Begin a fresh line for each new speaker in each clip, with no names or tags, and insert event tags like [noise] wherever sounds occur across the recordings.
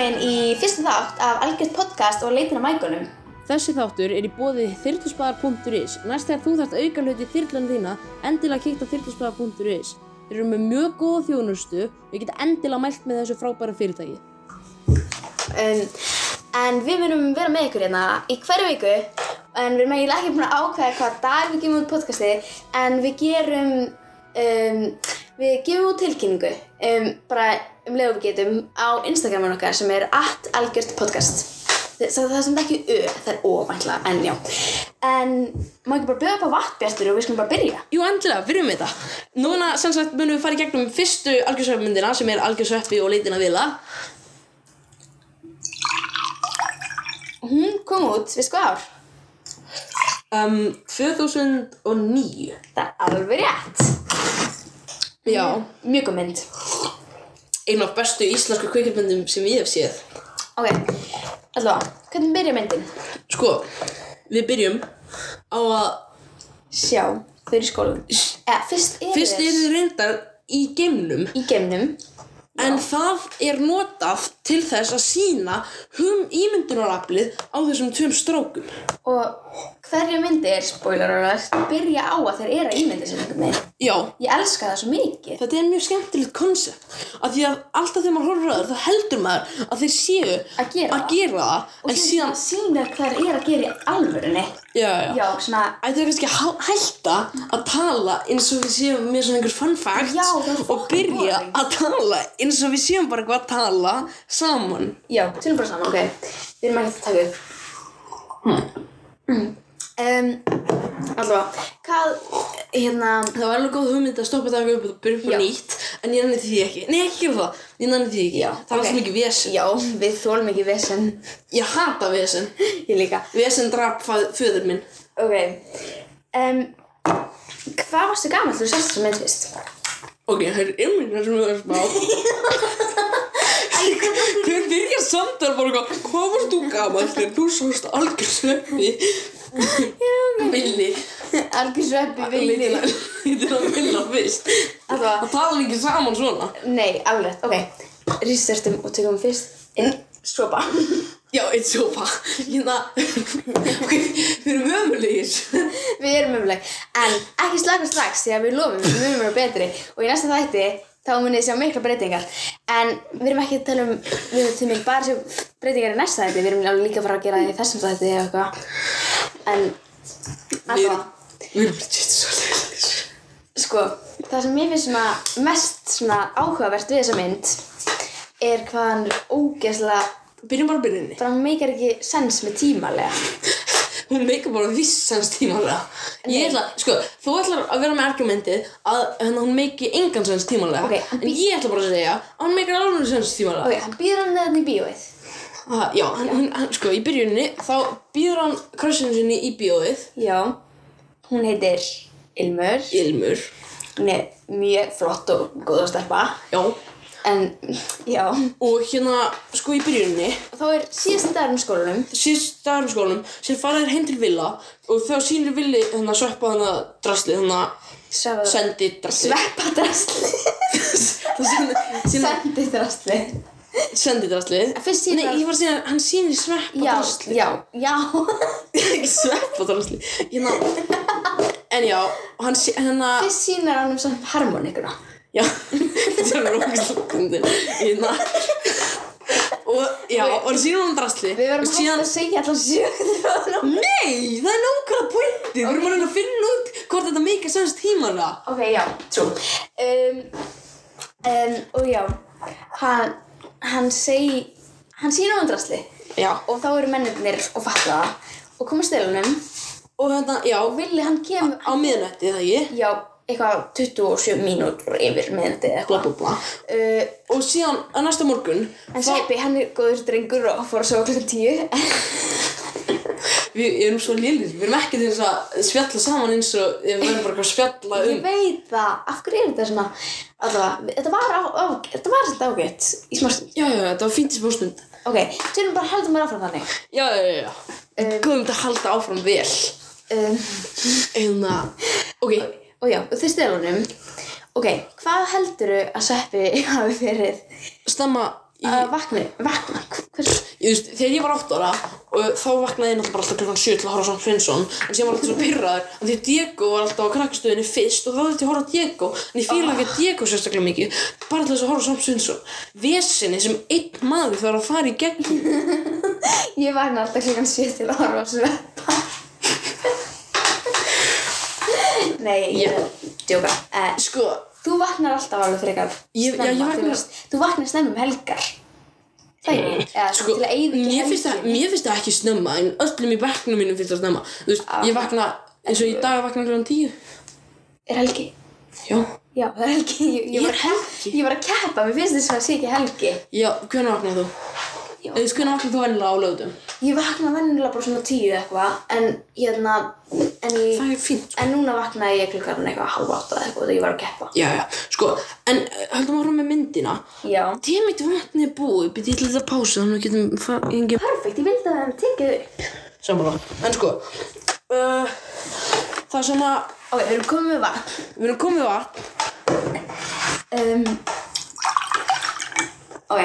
Eh, síðasta þátt af Algjörð podcast og leitin að mækunum.
Þessi þáttur er í bóðið þyrluspaðar.is. Næst þegar þú þarft auka hlut í þyrlan þína, endilega kíkta þyrluspaðar.is. Þeir eru með mjög góða þjónustu og ég geta endilega mælt með þessu frábæra fyrirtæki.
Um, en við munum vera með ykkur hérna í hverju viku en við erum eiginlega ekki búin að ákveða hvað dag við gefum út podcastið en við gerum um, við gefum út tilkynningu um, bara um leið og við getum á Instagramun okkar sem er at algjört podcast það er sem ekki ö, það er óvæntla en já en má ekki bara bjóða upp á vatnbjastur og við skulum bara byrja
Jú, endilega, byrjum við þetta Núna, sem sagt, munum við fara í gegnum fyrstu algjörsveppmyndina sem er algjörsveppi og leitin að vila
hún kom út, við sko ár
um, 2009
það er alveg rétt
Já,
mjög góð mynd
einu af bestu íslensku kvikmyndum sem ég hef séð
ok, allavega, hvernig byrja myndin?
Sko, við byrjum á að
sjá þau eru í skólanum eða fyrst eru
fyrst
þeir
eru þið reyndar í geimnum
í geimnum
en það er notað til þess að sína hum ímyndunaraflið á þessum tveim strókum
og hverja myndir, spoiler alert byrja á að þeir eru að ímynda sér einhvern veginn
Já,
ég elska það svo mikið
þetta er mjög skemmtilegt konsept af því að alltaf þegar maður horfir að það þá heldur maður að þeir séu
Að gera það.
það
og
en
síðan
síðan
sína hvað þeir eru að gera í alvörunni
já, já.
já, svona
ættu kannski að há- hætta að tala eins og við séum með svona einhver fun facts
Já, það er
og
fucking
byrja
boring.
að tala eins og við séum bara hvað að tala saman
já, tölum bara saman, ok við erum ekki að taka upp
Hmm.
um, allavega hvað, hérna
það var alveg góð hugmynd að stoppa þetta upp og byrja upp
Já.
á nýtt en ég nanni því ekki, nei ekki gera það ég nanni því ekki, það var
ok.
svo mikið vesen
já, við þólum ekki vesen
ég hata vesen,
ég líka
vesen drap fæ- föður minn
Ok um, Hvað varstu gaman þegar þú sérst þessar mynd fyrst?
ok, það er ymmina sem við erum að spá Hver byrja samtal bara eitthvað, hvað varst þú gamall þegar þú sást algjör sveppi? Villi,
Algjör sveppi
villi, lítið að vilja fyrst.
Alltaf
Það tala ekki saman svona.
Nei, alveg, ok Researchum og tökum fyrst inn Svopa
Já, eitt sopa. Hérna, ok, við erum ömulegir.
Við erum umleg En ekki slaka strax því að við lofum við munum vera betri Og í næsta þætti þá munið þið sjá mikla breytingar En við erum ekki að tala um Við erum til mig bara að sjá breytingar í næsta þætti Við erum alveg líka að fara að gera það í þessum þætti eða eitthvað En
Við
Alltaf
við erum legit svolítið.
Sko, það sem mér finnst svona mest svona áhugavert við þessa mynd er hvað hann er ógeðslega,
Byrjum bara að byrjunni.
bara hann meikar ekki sens með tímalega.
Hún meikar bara vissans tímanlega. Ég ætla, sko, þú ætlar að vera með argumentið að hérna, hún meiki engan sens tímanlega.
Ok, hann
en ég ætla bara að segja að hún meikar alveg sens tímanlega.
Ok, hann býður hann neðan í bíóið.
Ha, já, hann, hann, hann, sko, í byrjunni þá býður hann krossinu sinni í bíóið
Já, hún heitir Ilmur.
Ilmur,
Hún er mjög flott og góð að stelpa.
já
En, já,
og hérna, sko, í byrjunni
þá er síðast dagarinn í skólanum.
síðst dagar í skólanum, sér fara þér heim til Villa og þá sýnir Villi hérna sveppa hana drasli, hana
Svefaða.
sendi drasli
Sveppa drastli.
það sendi, sendi,
Sendi drastli.
sendi drasli
En fyrst sýnir
Nei,
hann-
ég var að segja, hann sýnir sveppa
Já,
drasli
já,
[laughs]
já.
ekki sveppa drasli hérna, en já og hann, sé- hérna
Fyrst sýnir hann um samt harmonikuna.
Já, [laughs] þetta er rókislokkundin Hérna Og já, og það sýnum hann drastli
Við verðum
Og síðan
hægt að segja um allan sjöknir á þennan.
Nei, það er nákvæmlega pointið Við erum að reyna að finna út hvort þetta mikið sens tímana
Ok, já, trú um, um, Og já Hann, hann segi Hann sýnir á andrasli
Já
Og þá eru mennirnir og fatta það Og koma stelunum
Og hérna, já,
Og villi hann kemur
á miðnætti það ekki
Já, eitthvað 27 mínútur yfir miðnætti eða
Bla
eitthvað
bla bla
uh,
Og síðan, að næsta morgun
En Sveppi, hann er góður drengur og fór að sofa klukkan 10
Við erum svo lilir Við erum ekki til þess að spjalla saman eins og Við verðum bara eitthvað að spjalla
[laughs] Ég
um
veit það, af hverju er þetta svona Allavega, þetta var, á, á, þetta var þetta ágætt Í smástund
Já, já, já, þetta var fínt í spórstund
Ok, tölum bara heldum mér áfram þannig
Já, já, já, já
Um.
Góðum þetta að halda áfram vel
um,
Hérna, ok
Og já, og þeir stela honum. Ok, hvað heldurðu að Sveppi [laughs] hafi verið
Stemma í
að vakna? Vakna? Hvers?
Ég veist, þegar ég var 8 ára og þá vaknaði ég náttúrulega bara alltaf klukkan 7 til að horfa á Svon Finnsson en síðan var alltaf svo pirraður af því að Diego var alltaf á krakkastöðinni fyrst og þá þetta ég að horfa á Diego en ég fíla ekki að Diego sérstaklega mikið bara til þess að horfa á Svon Finnsson Vesinni sem einn maður þarf að fara í gegn
Ég vakna alltaf klukkan 7 til að horfa á sveppa. Nei, ég er að djóka. Eh,
Sko,
þú vaknar alltaf alveg frekar
Ég- já,
snemma,
ég vakna-
þú veist. Þú vaknar snemma um helgar. Það er ég. Eða
sko
til að eyða
mér finnst, það,
helginni.
mér finnst það ekki snemma en öllum í bekknum mínum finnst það snemma Þú veist,
Ah.
ég vakna eins og í dag vakna klukkan 10
Er helgi?
Já,
Já, það er helgi. Ég, ég,
Ég
var,
er
að keppa-
helgi.
ég var að keppa, mér finnst þess að það sé ekki helgi.
já, hvernig vaknaði þú?
Já.
Þú veist, hvernig vaknaði þú ennilega á lögutum?
Ég vakna venjulega bara svona tíu eitthvað, en hérna, en ég,
Það er fínt, sko
en núna vaknaði ég klukkan eitthvað halv átta eða eitthvað þegar ég var að keppa.
Já, já, sko, en eh, höldum áfram með myndina.
Já.
Tímit vatni er búið, byrja ég ætla þetta að pása þannig að við getum engin...
Perfekt, ég vildi að það er tekið upp.
Samanlega. En sko, uh, það sem að
Ok, við erum komið með vatn.
við erum komið á vatn.
Um, ok.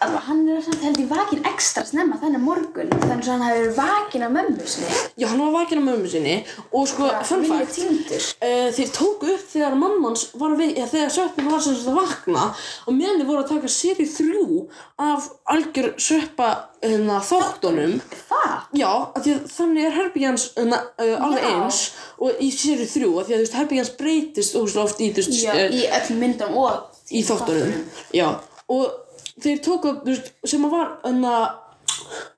Alveg, hann er samt held í vakin ekstra snemma þennan morgun. Þannig að hann hefur verið vakin af mömmu sinni.
Já, hann var vakinn af mömmu sinni og sko, fun
Minni
fact,
týndur.
uh, þeir tóku upp þegar mammans var við, ja, þegar söppin var sem þetta vakna og meðan þeir voru að taka séri þrjú af algjör söppa hérna, þáttunum.
Það?
Já, af því að þannig er herbygjans uh, alveg
Já.
eins og í séri þrjú af því að þú veist herbygjans breytist ósla oft í, þú veist,
Já,
eh,
í öllum myndum og...
í þáttunum Já, og þeir tóku upp, þú veist, sem að var enna,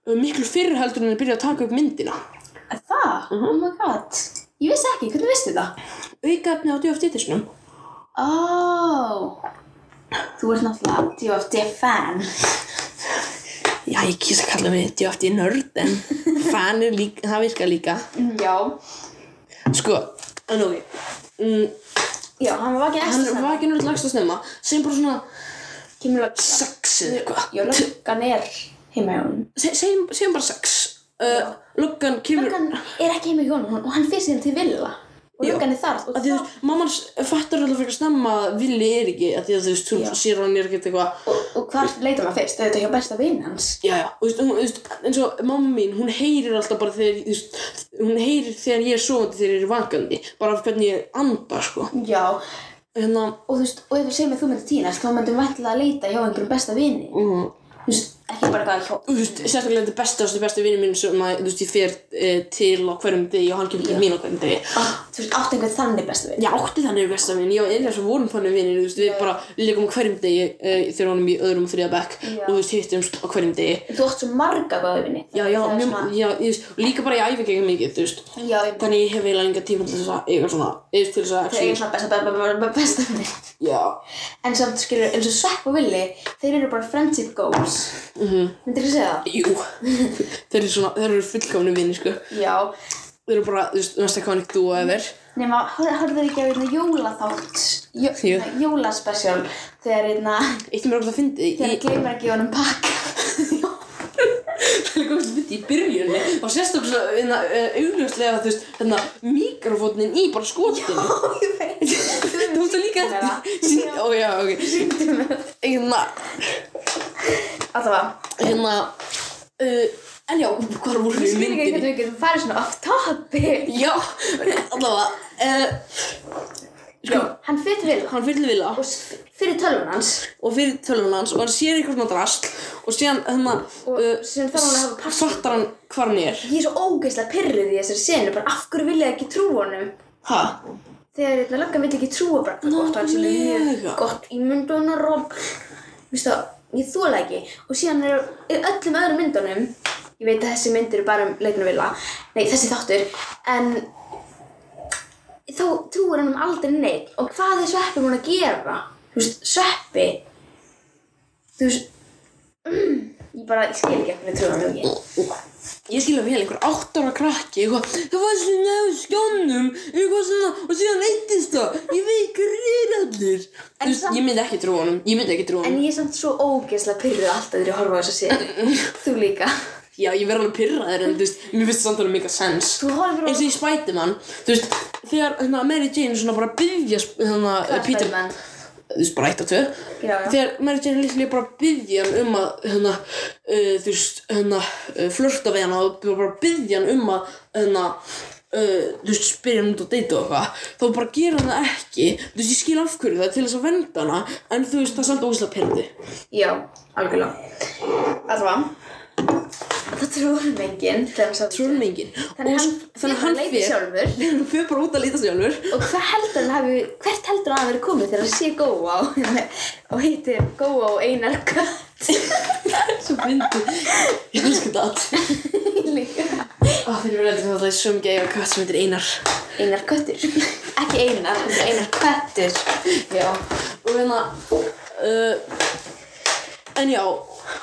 miklu fyrr heldur en að byrja að taka upp myndina
Það?
Mhm.
Oh my god. Ég vissi ekki, hvernig vissi það?
Aukaefni á djöftitisnum
Ó. Oh. Þú ert náttúrulega DFD-fan.
Já, ég kýsa að kalla mig djöfti nörd [laughs] en fan er líka, það virkar líka
Já.
Sko, en ok mm,
Já, hann var vakin
Hann
ekstra
var
snemma.
ekki nörd lagst að snemma sem bara svona
Kemur löggan.
sex eða eitthvað
Já, löggan er heima hjá hann.
Se- segjum, segjum bara sex uh, Luggan kemur
Löggan er ekki heima í honum og hann fyrir síðan til Villa og
Já.
löggan er þar og,
að því þú
þá,
veist, mamman s- fattar alltaf frekar snemma að villi er ekki að því að þú veist,
Já.
hún sér að hann er ekkert eitthvað
og, og hvar leitar maður fyrst? Auðvitað hjá besta vinn hans
Já, já, og þú veist, hún, þú veist, eins og mamma mín, hún heyrir alltaf bara þegar, þú veist, hún heyrir þegar ég er sofandi þegar ég er vakandi, bara af hvernig ég anda, sko.
Já,
Hérna,
og þú veist, og ef við segjum að þú myndir týnast þá myndir við ætla að leita hjá einhverjum besta vinni
mm,
Þú veist, ekki bara hvað hjá
þú veist, sérstaklega þetta besta, þetta besta vinur minn sem að, þú veist, ég fer e, til á hverjum degi og hann kemur
Já.
til mín á hverjum degi.
Á- Ah, Þú veist, átt einhvern þannig besta vinn
Ég átti þannig besta vinn, ég og Elias vorum þannig vinnir, þú veist, við bara leikum á hverjum degi e, þegar honum í öðrum og þriða bekk
Já.
og þú veist, hittumst á hverjum degi.
Þú átt svo marga góða vinni
Já, já, mjög, já, ég veist, og líka bara ég æfi ekki mikið, þú veist.
já ég-
Þannig ég hef eiginlega enga tíma til þess að eiga svona, eða til þess
Það
að
er
actually-
svona besta, besta, besta, besta vinni
Já,
En samt skilur, eins og Svepp og Villi Þeir eru bara friendship goals
Mhm.
Myndir þú segja það?
[laughs] jú Þeir eru svona, þeir eru fullkomni vinni, sko
Já,
Þeir eru bara, þú veist, næsta konik þú og efer
Nefna, horfðu þér ekki á einna jólaþátt, jó,
Jú.
hérna, jólaspecial, þegar einna,
Eitt sem er okkur að fyndi
þegar
Ég
ég... gleymar ekki honum [laughs] pakka.
er okkur að fyndi í byrjunni Þá sést okkur svona, hérna, eh, augljóslega, þú veist Hérna, mikrofónin í bara skotinu
ég veit.
Þú veist það líka
Sýndu mér það.
[laughs] eftir Sýn- Ó, já, ok Hérna,
Alltaf að,
hérna uh, En já, hvað
ég
voru við í
skil ekki
myndinni?
hvernig við getum farið svona off topic.
Já, allavega uh, Sko,
Hann fyrir til
hann fyrir til vila
og s- fyrir tölvun hans
og fyrir tölvun hans og hann sér eitthvað svona drast og síðan hérna
og
uh,
sem þá hann að hafa passa.
fattar hann hvar hann er
Ég er svo ógeðslega pyrruð í þessari senu, bara af hverju vil ég ekki trú honum?
ha?
Þegar einna löggan vil ekki trúa bara, það er gott að hann sé með mjög
Nákvæmlega.
gott ímyndunar og, vístu það, ég þóla ekki. Og síðan er í öllum öðrum myndunum, ég veit að þessi mynd eru bara um leiknum vilja, nei þessi þáttur, en þá trúir hann um aldrei neitt. Og hvað er sveppi búin að gera? Þú veist, sveppi, þú veist, mm, ég bara, ég skil ekki hvernig trúið hann ekki.
ég skilja vel einhver átt ára krakki eitthvað, það var svona á skjónum eitthvað svona og síðan eittist það ég veit hverjir allir
En
Þú veist,
samt-
ég myndi ekki trúa honum ég myndi ekki trúa
En
honum
ég er samt svo ógeðslega pyrruð alltaf þegar ég horfa á þessa
[laughs]
séri. Þú líka.
já ég verði alveg pyrraður en þú veist mér finnst það alveg mega sens
Þú horfir á...
eins og í Spiderman þú veist þegar hérna, Mary Jane svona bara byggja hérna, Peter
Spiderman?
þú veist, bara eitt og tvö
Já, já.
þegar Mary Jane Little er bara að byggja hann um að hérna, uh, þú veist, hérna uh, flörta við hann og bara byggja hann um að hérna, uh, þú veist, spyrja hann út og deyta og eitthvað þá bara gera hann það ekki þú veist, ég skil af hverju það er til þess að venda hana en þú veist, það er samt ógæslega pyrrandi
Já, algjörlega. Allavega. Það trúum enginn. Trúum
trúlmingin
Þannig hann,
þannig að hann
leiti
fyrir
sjálfur.
[laughs] hann fyrir bara út að líta sjálfur
Og hvað heldur hann hafi, hvert heldur hann hafi verið komið þegar hann sé Góa og, [laughs] og heiti Góa og Einar Gött
svo myndi [laughs] ég elsku þetta allt
líka.
Ó, þeir eru reyndið það er svo mikið eiga hvað sem heitir Einar
[laughs] Einar Göttur. Ekki Einar, heldur Einar Göttur.
já og hérna uh, en já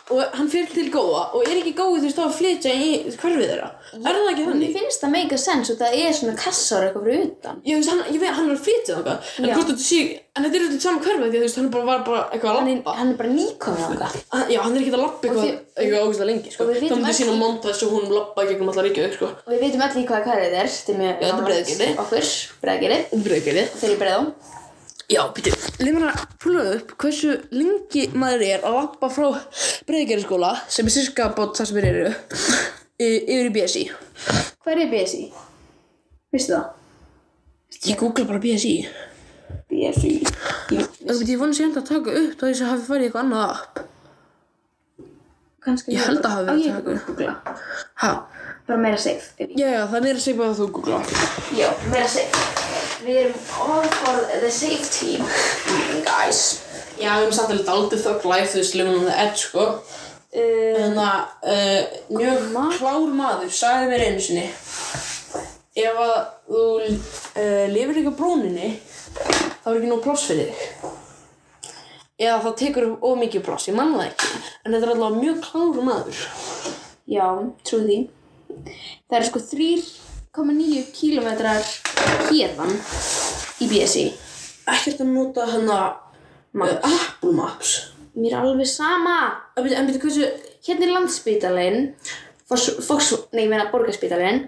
og hann fyrir til góða og er ekki góði þú veist þá að flytja í hverfið þeirra er það ekki
Mér
þannig?
finnst það meika sens og það er svona kassar eitthvað fyrir utan.
Ég, veist, hann, ég veit, hann er að flytja þangað en
Já.
hvort þetta sé, en þetta er alltaf saman hverfið því að þú veist hann bara var bara eitthvað að
Hann er,
lappa
hann er bara nýkominn þangað.
Hann- já, hann er ekki að lappa eitthvað,
því-
eitthvað ógæslega lengi sko.
og við
þá
vitum
myndi
öll-
sína montage og hún lappa gegnum allar ríkjöðu sko.
Og við veitum öll í hvaða hverfið er. Þetta er mjög
Já, þetta er Breiðagerði.
Okkur, bregðgerið.
Breykeri
Þegar ég bregðum.
Já, býttu Leif mér að prúlaðu upp hversu lengi maður er að lappa frá Breykeri skóla sem er sirka bótt þar sem þeir eru y- yfir í BSI
Hvað er BSI? Vistu það?
Ég googla bara BSI
BSI.
Það býttu, ég vonu sér enda að taka upp þá þess að hafi farið í eitthvað annað app
Kannski
Ég held að hafi
verið
verið að
það. Á ég googla.
Ha?
Bara meira safe.
Já, já, það er að segja bara að þú googla
Já, meira safe. Við erum all for the safe team. Guys.
Já, við erum samt alveg daldið þokk live þú veist, lifunum það edge, sko
Um,
Þannig að uh, mjög klár maður sagði mér einu sinni Ef að þú uh, lifir ekki á bróninni þá er ekki nóg pláss fyrir þig Eða það tekur upp of mikið pláss, ég manna það ekki En þetta er allavega mjög klár maður
já, trú því. Það eru sko 3,9 kílometrar hérðan í BSI.
Ekkert að nota hana uh,
Maps.
Apple Maps
Mér er alveg sama.
En byrju- En betur hversu
Hérna er landsbytalinn. Fox, nei, ég meina borgarspítalinn.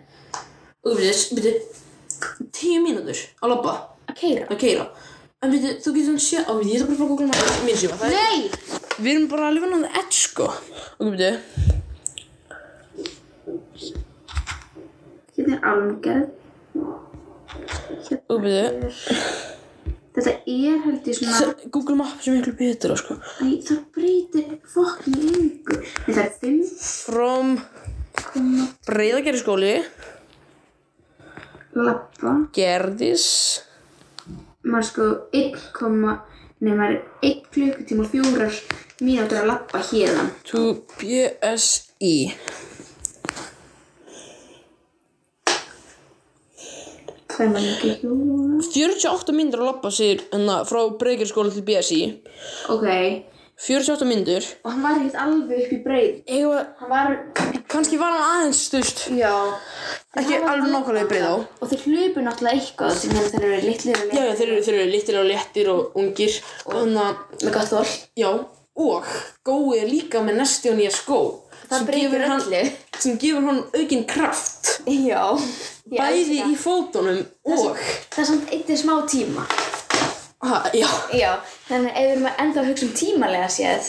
Og byrju, byrju Tíu mínútur að labba
Að keira.
Að keira En byrju, þú getur hann sé Á, byrju, ég ætla bara að fá Google Maps Mín síma, það er
Nei!
Við erum bara að lifa náðu edge sko Ok, byrju
Hérna er almgerð.
Ok, byrju
Þetta er held ég svona,
S- Google Maps er miklu betra sko
æ, það breytir fokkn í engu. Þetta er 5
From
koma
Breiðagerði skóli
lappa,
Gerðis
maður sko 1 koma, nei maður er 1 klukkutíma og fjórar mínútur að lappa hérna.
To BSI
Það er maður ekki hjóra.
48 myndur að labba sér hérna, frá Breiðagerði skóli til BSI
Ok,
48 myndur
og hann var ekkert alveg upp í breyð.
Eða,
Hann var,
kannski var hann aðeins stust
já.
Ekki
Hann var
alveg nákvæmlega í Breiðá.
Og þeir hlupu náttúrulega eitthvað sem þannig þeir eru litlir og
Já, já, þeir eru, þeir eru lítil og léttir og ungir og þannig að,
Með gott þorl.
já, og gói er líka með næsti og nýja skó
Það
sem
breytir
gefur hann-
öllu.
sem gefur hann aukinn kraft
Já. Ég
bæði
elska það.
í fótunum og
Það er samt eittir smá tíma.
ha, já,
Já, þannig ef við erum ennþá að hugsa um tímalega séð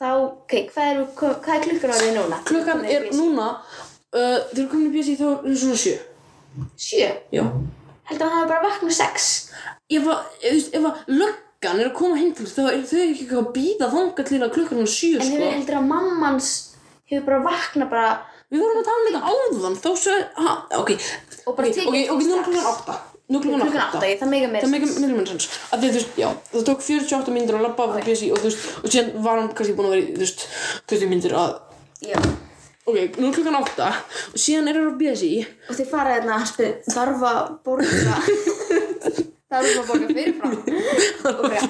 þá, ok, hvað er, hvað er klukkan orðið núna?
klukkan er núna uh, þegar við komin í BSI þá er hún svona sjö
Sjö,
já
heldur að það er bara vaknað sex
ef að, ef, þú veist, ef að löggan er að koma heim til þess, þá er þau ekki eitthvað að býða þanga til að klukkan er sjö
En
sko
hefur heldur að mammans hefur bara vaknað bara
við vorum að tala um þetta áðan þá svo ha, ok,
Og bara
ok,
tekið
ok,
eitt
ok, nú
strax.
er klukkan átta nú er klukkan
klukkan
átta
átta, það meika mér
það meikar miklu mér sens að því að þú veist, já, það tók 48 myndir að labba af BSI og þú veist, og síðan var hann kannski búin að vera í, þú veist, 20 myndir að
Já, og
ok, nú er klukkan átta og síðan er hann á BSI
þið fara þarna að spil, þarf að borga [laughs] þarf að borga fyrirfram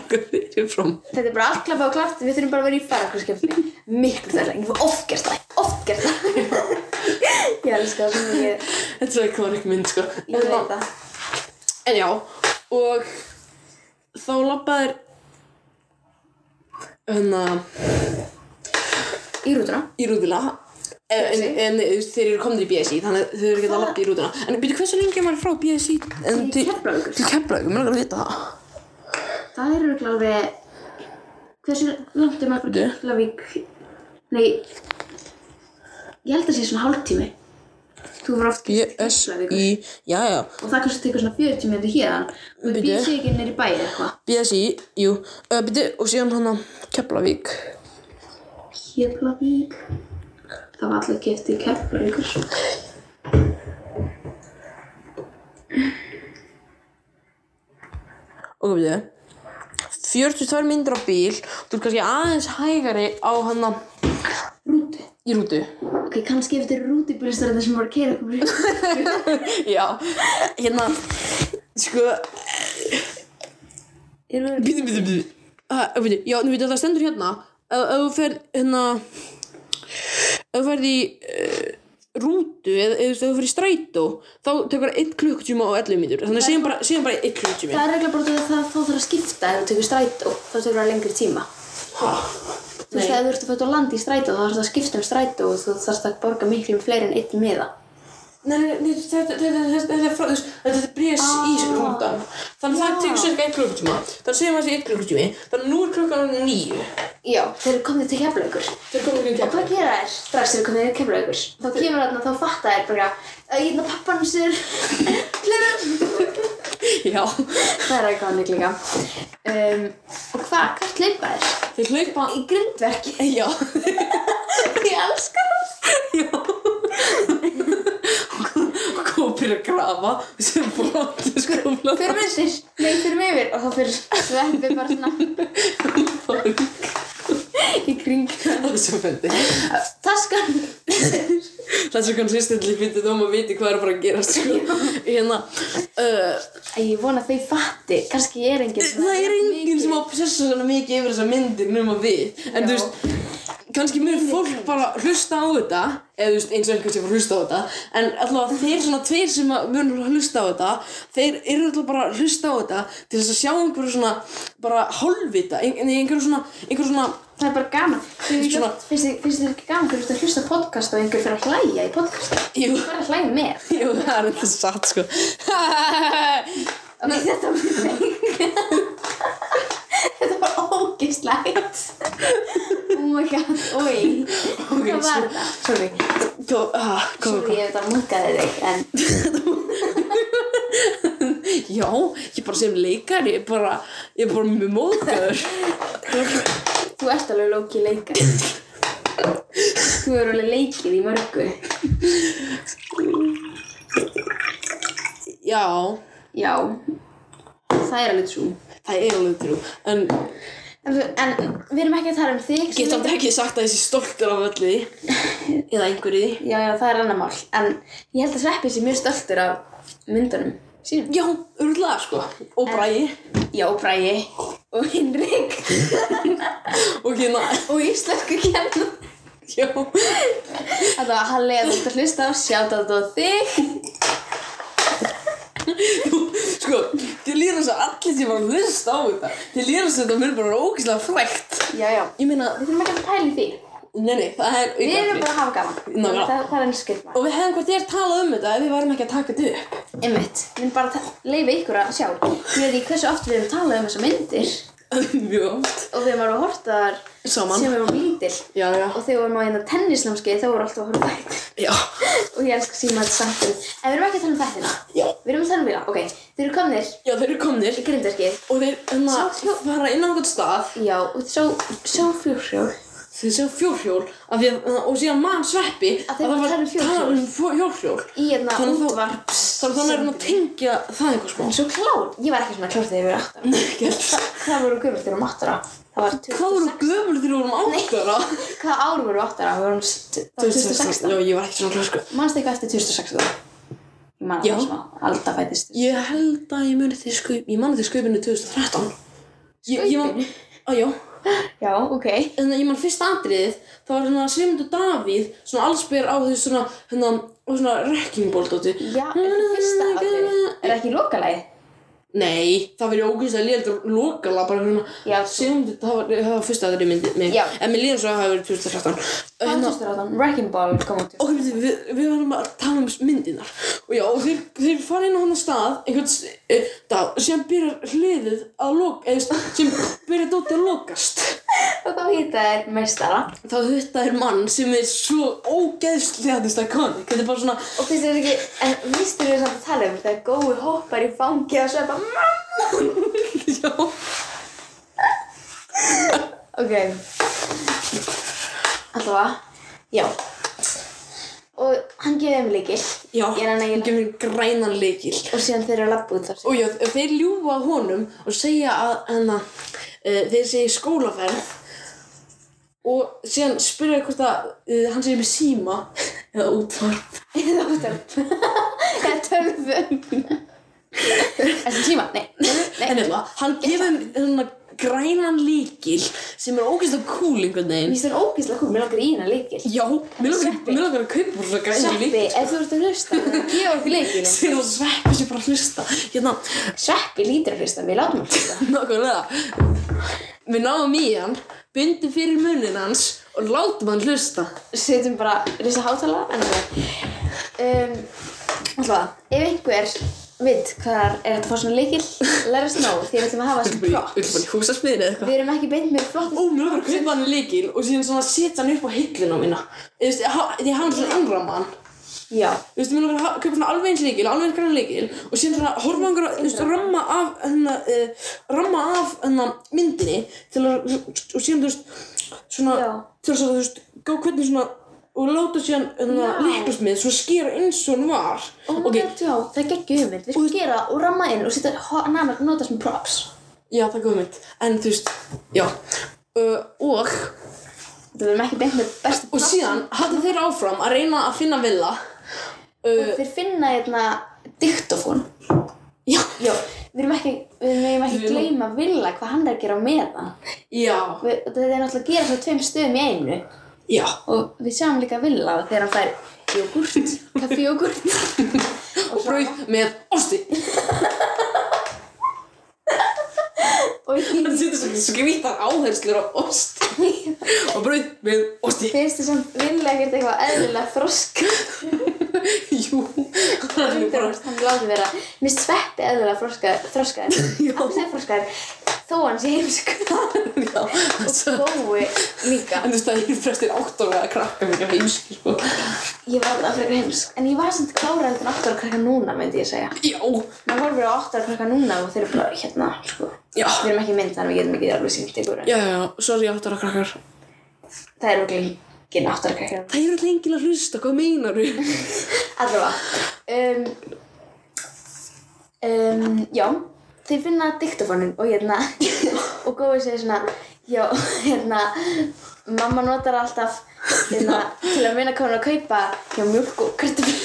[laughs] fyrirfram
Þetta er bara allt klappað og klart, við þurfum bara að vera í faraklarskefni Miklu þess ég hef oft gert það, oft gert það [laughs] Ég elska það sem ég,
Þetta er svo ikonik mynd sko
ég veit það
En já, og þá labbaðir hérna
Í rútuna
í rúðuna en, en þú veist, þeir eru komnir í BSI þannig að þau eru ekki að labba í rúðuna En byrju, hversu lengi er maður frá BSI en,
Til Keflavíkur.
Til Keflavíkur, mér langar að vita það
Það það er örugglega alveg... Hversu langt er maður frá
Bíddu.
Keflavík? Nei, ég held að sé svona hálftími. Þú var oft til Keflavíkur.
BSI, já, já,
Og það kannski tekur svona 40 minnir héðan. Og
Bíddu.
ég býð sig ekki nýri bæ eða eitthvað.
BSI, jú, uh, byrju, og síðan hann að Keflavík.
Keflavík. Það var allir gift í Keflavíkur.
Ok, byrju, 42 myndir á bíl, þú ert kannski aðeins hægari á hann að,
Rúti.
í rútu.
Ok, kannski ef þetta eru rútibílistarinn sem voru að keira okkur.
[laughs] Já, hérna, sko,
Erum við...
byrju, byrju, byrju. Uh, byrju, já, nú veitum það stendur hérna, ef ef þú ferð, hérna, ef þú ferð í uh, rútu, eða eða, þú veist, ef þú ferð í strætó, þá tekur það 1 klukkutíma og 11 mínútur, þannig að segjum bara, segjum bara 1 klukkutíma.
Það er regla bara út af því að það, þá þarf að skipta ef þú tekur strætó, þá tekur það lengri tíma. Þú veist,
Nei.
ef þú ert að fæta á land í strætó, þá þarf það að skipta um strætó og þú þarfst að borga miklu um fleiri en einn miða.
Nei, nei, nei, þetta, þetta, þetta, þetta er frá, þú veist, þetta er brés í rútan. Þannig að það tekur sér ekki 1 klukkutíma, þannig að segjum að það sé 1 klukkutími, þannig að nú er klukkan 9.
Já, þeir eru komnið til Keflavíkur.
Þeir komið ekki í
Hvað
kefla.
gera þær strax þegar þeir eru komnið til Keflavíkur? Þá kemur þarna, þá fatta þær bara, að ég er hérna það pappan [laughs] sér, hliður.
Já,
Það er eitthvað annir líka. Um, og hvað, hvert leipa þær?
þeir hlaupa,
Í grindverki.
[laughs]
[laughs]
já.
Ég elska það.
Já Og kom að byrja að grafa sem sko, brótti skóla
Fyrir myndir, nei, fyrir mig yfir og þá fyrir sveppi bara svona [laughs]
Það
í kring.
er svo fyndi
Taskan. [laughs]
Það er svo konsistentli fyndið um að viti hvað er að fara að gera sko. Hérna uh,
Æ, Ég vona að þau fatti, kannski ég er enginn sem-
Það er enginn sem obsessa svona mikið yfir þessar myndir nema við En þú
Já.
veist Kannski mun fólk bara hlusta á þetta eða þú veist eins og einhvern sem fór að hlusta á þetta en allavega þeir svona tveir sem að mun hlusta á þetta þeir eru allavega bara að hlusta á þetta til þess að sjá einhverju svona bara hálfvita, ein- nei, einhverju svona einhverju svona
Það er bara gaman. Þau eru
Svona-
ekki- Finnst þér- finnst þér ekki gaman hvernig þú ert að hlusta á podcast og einhver fyrir að hlæja í podcast?
Jú,
Þú fyrir að hlæja með.
jú, það er þetta satt sko
Ok, þetta var mjög Þetta var ógeðslegt. Oh my god, oi.
Ok,
Hvað var
svo-
þetta? Sorry.
Go, ah, go,
Sorry, ég veit að mungaði þig, en
Já, ég bara sem leikari ég bara, ég er bara mjög
[laughs]
móðgöður
þú ert alveg lóki leikar. Þú eru alveg leikið í mörgu.
Já,
Já, það er alveg trú.
það er alveg trú en
En, þú- en við erum ekki að tala um þig.
get samt ekki sagt að þessi stoltur af öllu því eða einhverju því
Já, já, það er annar mál. En ég held að Sveppi sé mjög stoltur af myndunum sínum.
Já, urðlega sko og bræði
Já, Bræi og Hinrik [laughs]
og hérna, [laughs]
og Íslensku kennu.
já
Þetta var Halli að þú ert að hlusta á, sjáta þetta á þig.
Sko, þið líður þess að allir sem var að hlusta á þetta þið líður þess að þetta mér bara ógæslega frækt
Já, já.
Ég meina,
Við þurfum ekki að pæla í því.
nei, nei, það er
Við
aukaatriði.
erum bara að hafa gaman.
Ná, já.
það, það er eins skilma.
Og við hefðum hvort ég er talað um þetta ef við værum ekki að taka þetta upp.
Einmitt. Við erum bara að leifa ykkur að sjá. Við erum í hversu oft við erum talað um þessa myndir.
[laughs] Mjög oft.
Og við erum alveg að horta þar
Saman.
sem við erum lítil.
Já, já.
Og þegar við erum á eina tennisnámskeið þá erum við alltaf að horfa á þetta.
Já.
Og ég elska síma þetta samt um. En við erum ekki að tala um þættina.
Já.
Við erum að tala um bíla, ok. Þeir eru komnir
Já, þeir eru komnir
í grindverkið.
og þeir hérna
Sjá-
fara inn á einhvern stað.
Já, og sjá, sjá fjórhjól.
Þeir sjá fjórhjól af því að, og síðan mann sveppi
Að þeir voru að tala um fjórhjól.
tala um fjó- fjórhjól.
Í hérna
Þannig að þú-
útvarps.
Þannig að þannig er hann að tengja það eitthvað smá.
En svo klár. Ég var ekki svona klár þegar ég var 8 ára.
Nei, ekki heldur.
Hvað voru gömur þegar við varum 8 ára? Það var 20.
Hvað voru gömul þegar við vorum átt ára?
Hvað ár voru 8 ára? Við vorum st- það var 2016.
Já, ég var ekki svona klár sko.
Manstu eitthvað eftir 2016? Ég man
Já.
það smá. Alda fættist.
Ég held að ég muni þeir skaup, ég man þeir skaupinu 2013. Ég, ég man,
Skaupinu?
á, já.
Já, ok.
þannig að ég man fyrst atriðið þá var svona Sigmundur Davíð svona allsbyr á því svona hérna og svona wrecking ball dóti
Já, er það fyrsta aðrið? Er það ekki lokalægið?
Nei, það verið ógeðslega lélegt lokala bara hérna
Já, svo-
Segum þetta, það var, það var fyrsta aðri myndi mig
Já.
En mér líður svo að það hafi verið 2013
hvað
Hérna-
tókstur á þann? Wrecking Ball kom út.
Ok, við, við, við varum að tala um myndinar og já, og þeir, þeir fara inn á hann að stað einhvern s- e, dag sem byrjar hliðið að loka eða sem byrjar dótið að lokast
Og þá hýta þær meistara.
þá þetta er mann sem er svo ógeðslega þú veist iconic þetta er bara svona [laughs]
Og finnst þér ekki, en vistur þér samt að tala um þegar gói hoppar í fangi og svo er bara "Mmm." "Mamma!"
já,
Ok. Alltaf að, já. Og hann gefið þeim líkil.
já
Ég er hann
hann
eiginlega.
gefur henni grænan leikil
Og síðan þeir eru að labba út þar.
og já, þeir ljúfa honum og segja að hana, uh, þeir segja skólaferð og síðan spyrja hvort að uh, hann segja með síma eða útvarp
[laughs] Eða útöp. Eða tölvum. Þessi tíma, nei.
en eða, hann gefur þeim þennan grænan líkil sem er ógeðslega cool einhvern
Mér
veginn
finnst það ógæslega cool, mér langar í hérna líkil.
já, mér langar
Sveppi.
mér langar að kaupa bara svona grænan
Sveppi,
líkil
ef þú ert að hlusta, gefa okkur [laughs] líkilinn.
sem var sveppi sem bara hlusta hérna,
Sveppi lítur að hlusta, við látum að hlusta.
nákvæmlega við náum í hann bindum fyrir munin hans og látum hann hlusta
setjum bara risa hátalara en um, alltaf, ef einhver veit hvar er þetta að fá svona leikil let us know, því við ætlum að hafa þessi props
Ulfmann í húsasmiðinu eða eitthvað
við erum ekki beint með flott
Ó, mér verður að kaupa hann líkil og síðan svona setja hann upp á hillina mína Þú veist, ha- Því hann er svona innramma hann Þú
já,
veist, mér verður að ha- kaupa svona alveg eins líkil, alveg eins grann líkil Og síðan svona horfa hann, þú veist, ramma af, hérna, uh, ramma af, hérna, myndinni Til að, og síðan, þú veist, svona,
Já.
til þess að, þú veist, gá hvernig svona Og láta síðan, hérna,
Já.
líkilsmið, svona skera eins og hann var
og
Ok,
okay. Oh já, það er geggjum hugmynd við skulum gera það og ramma inn og setja hana að nota sem props
já, það er góð mynd En, þú veist, já uh, Og,
við erum ekki beint með bestu
Og
props
síðan haldið þeir áfram að reyna að finna villa uh,
þeir finna hérna diktofón
Já,
já, við erum ekki við erum ekki
Við-
gleyma Villa hvað hann er að gera með það
já,
þetta er náttúrulega að gera svo tveim stöðum í einu
já
og við sjáum líka Villa þegar hann fær jógurt, kaffijógurt
[laughs] Og brauð með osti
og
Það
ég
setur svo skrítar áherslur á osti Og brauð með osti
finnst þér samt Villa ekkert eitthvað eðlilega þroska
Jú, það er nú bara
undirhast, hann láti vera minnst sveppi eðlilega þroska
[laughs]
þroskaður,
Já.
hann sé þroskaður þó hann sé heimsku
[laughs] Já, það er
gói líka
En þú veist það eru flestir átt ára að krakka mikið af heimski sko.
ég var það frekar heimsk en ég var samt klárað en 8 ára krakka núna myndi ég segja
Já,
maður horfir á 8 ára krakka núna og þeir eru bara hérna sko
já
við erum ekki í mynd þannig við getum ekki alveg sýnt ykkur en
Já, já, sorry átt ára krakkar
það er okkur ekki 8 ára krakka
Það eru lengil að hlusta, hvað meinaru?
Allavega um, um, Já Þeir finna diktofónin og hérna [laughs] og Gói segir svona Já, hérna Mamma notar alltaf hérna, til að minna hvað hún er að kaupa hjá mjölk og kartöflu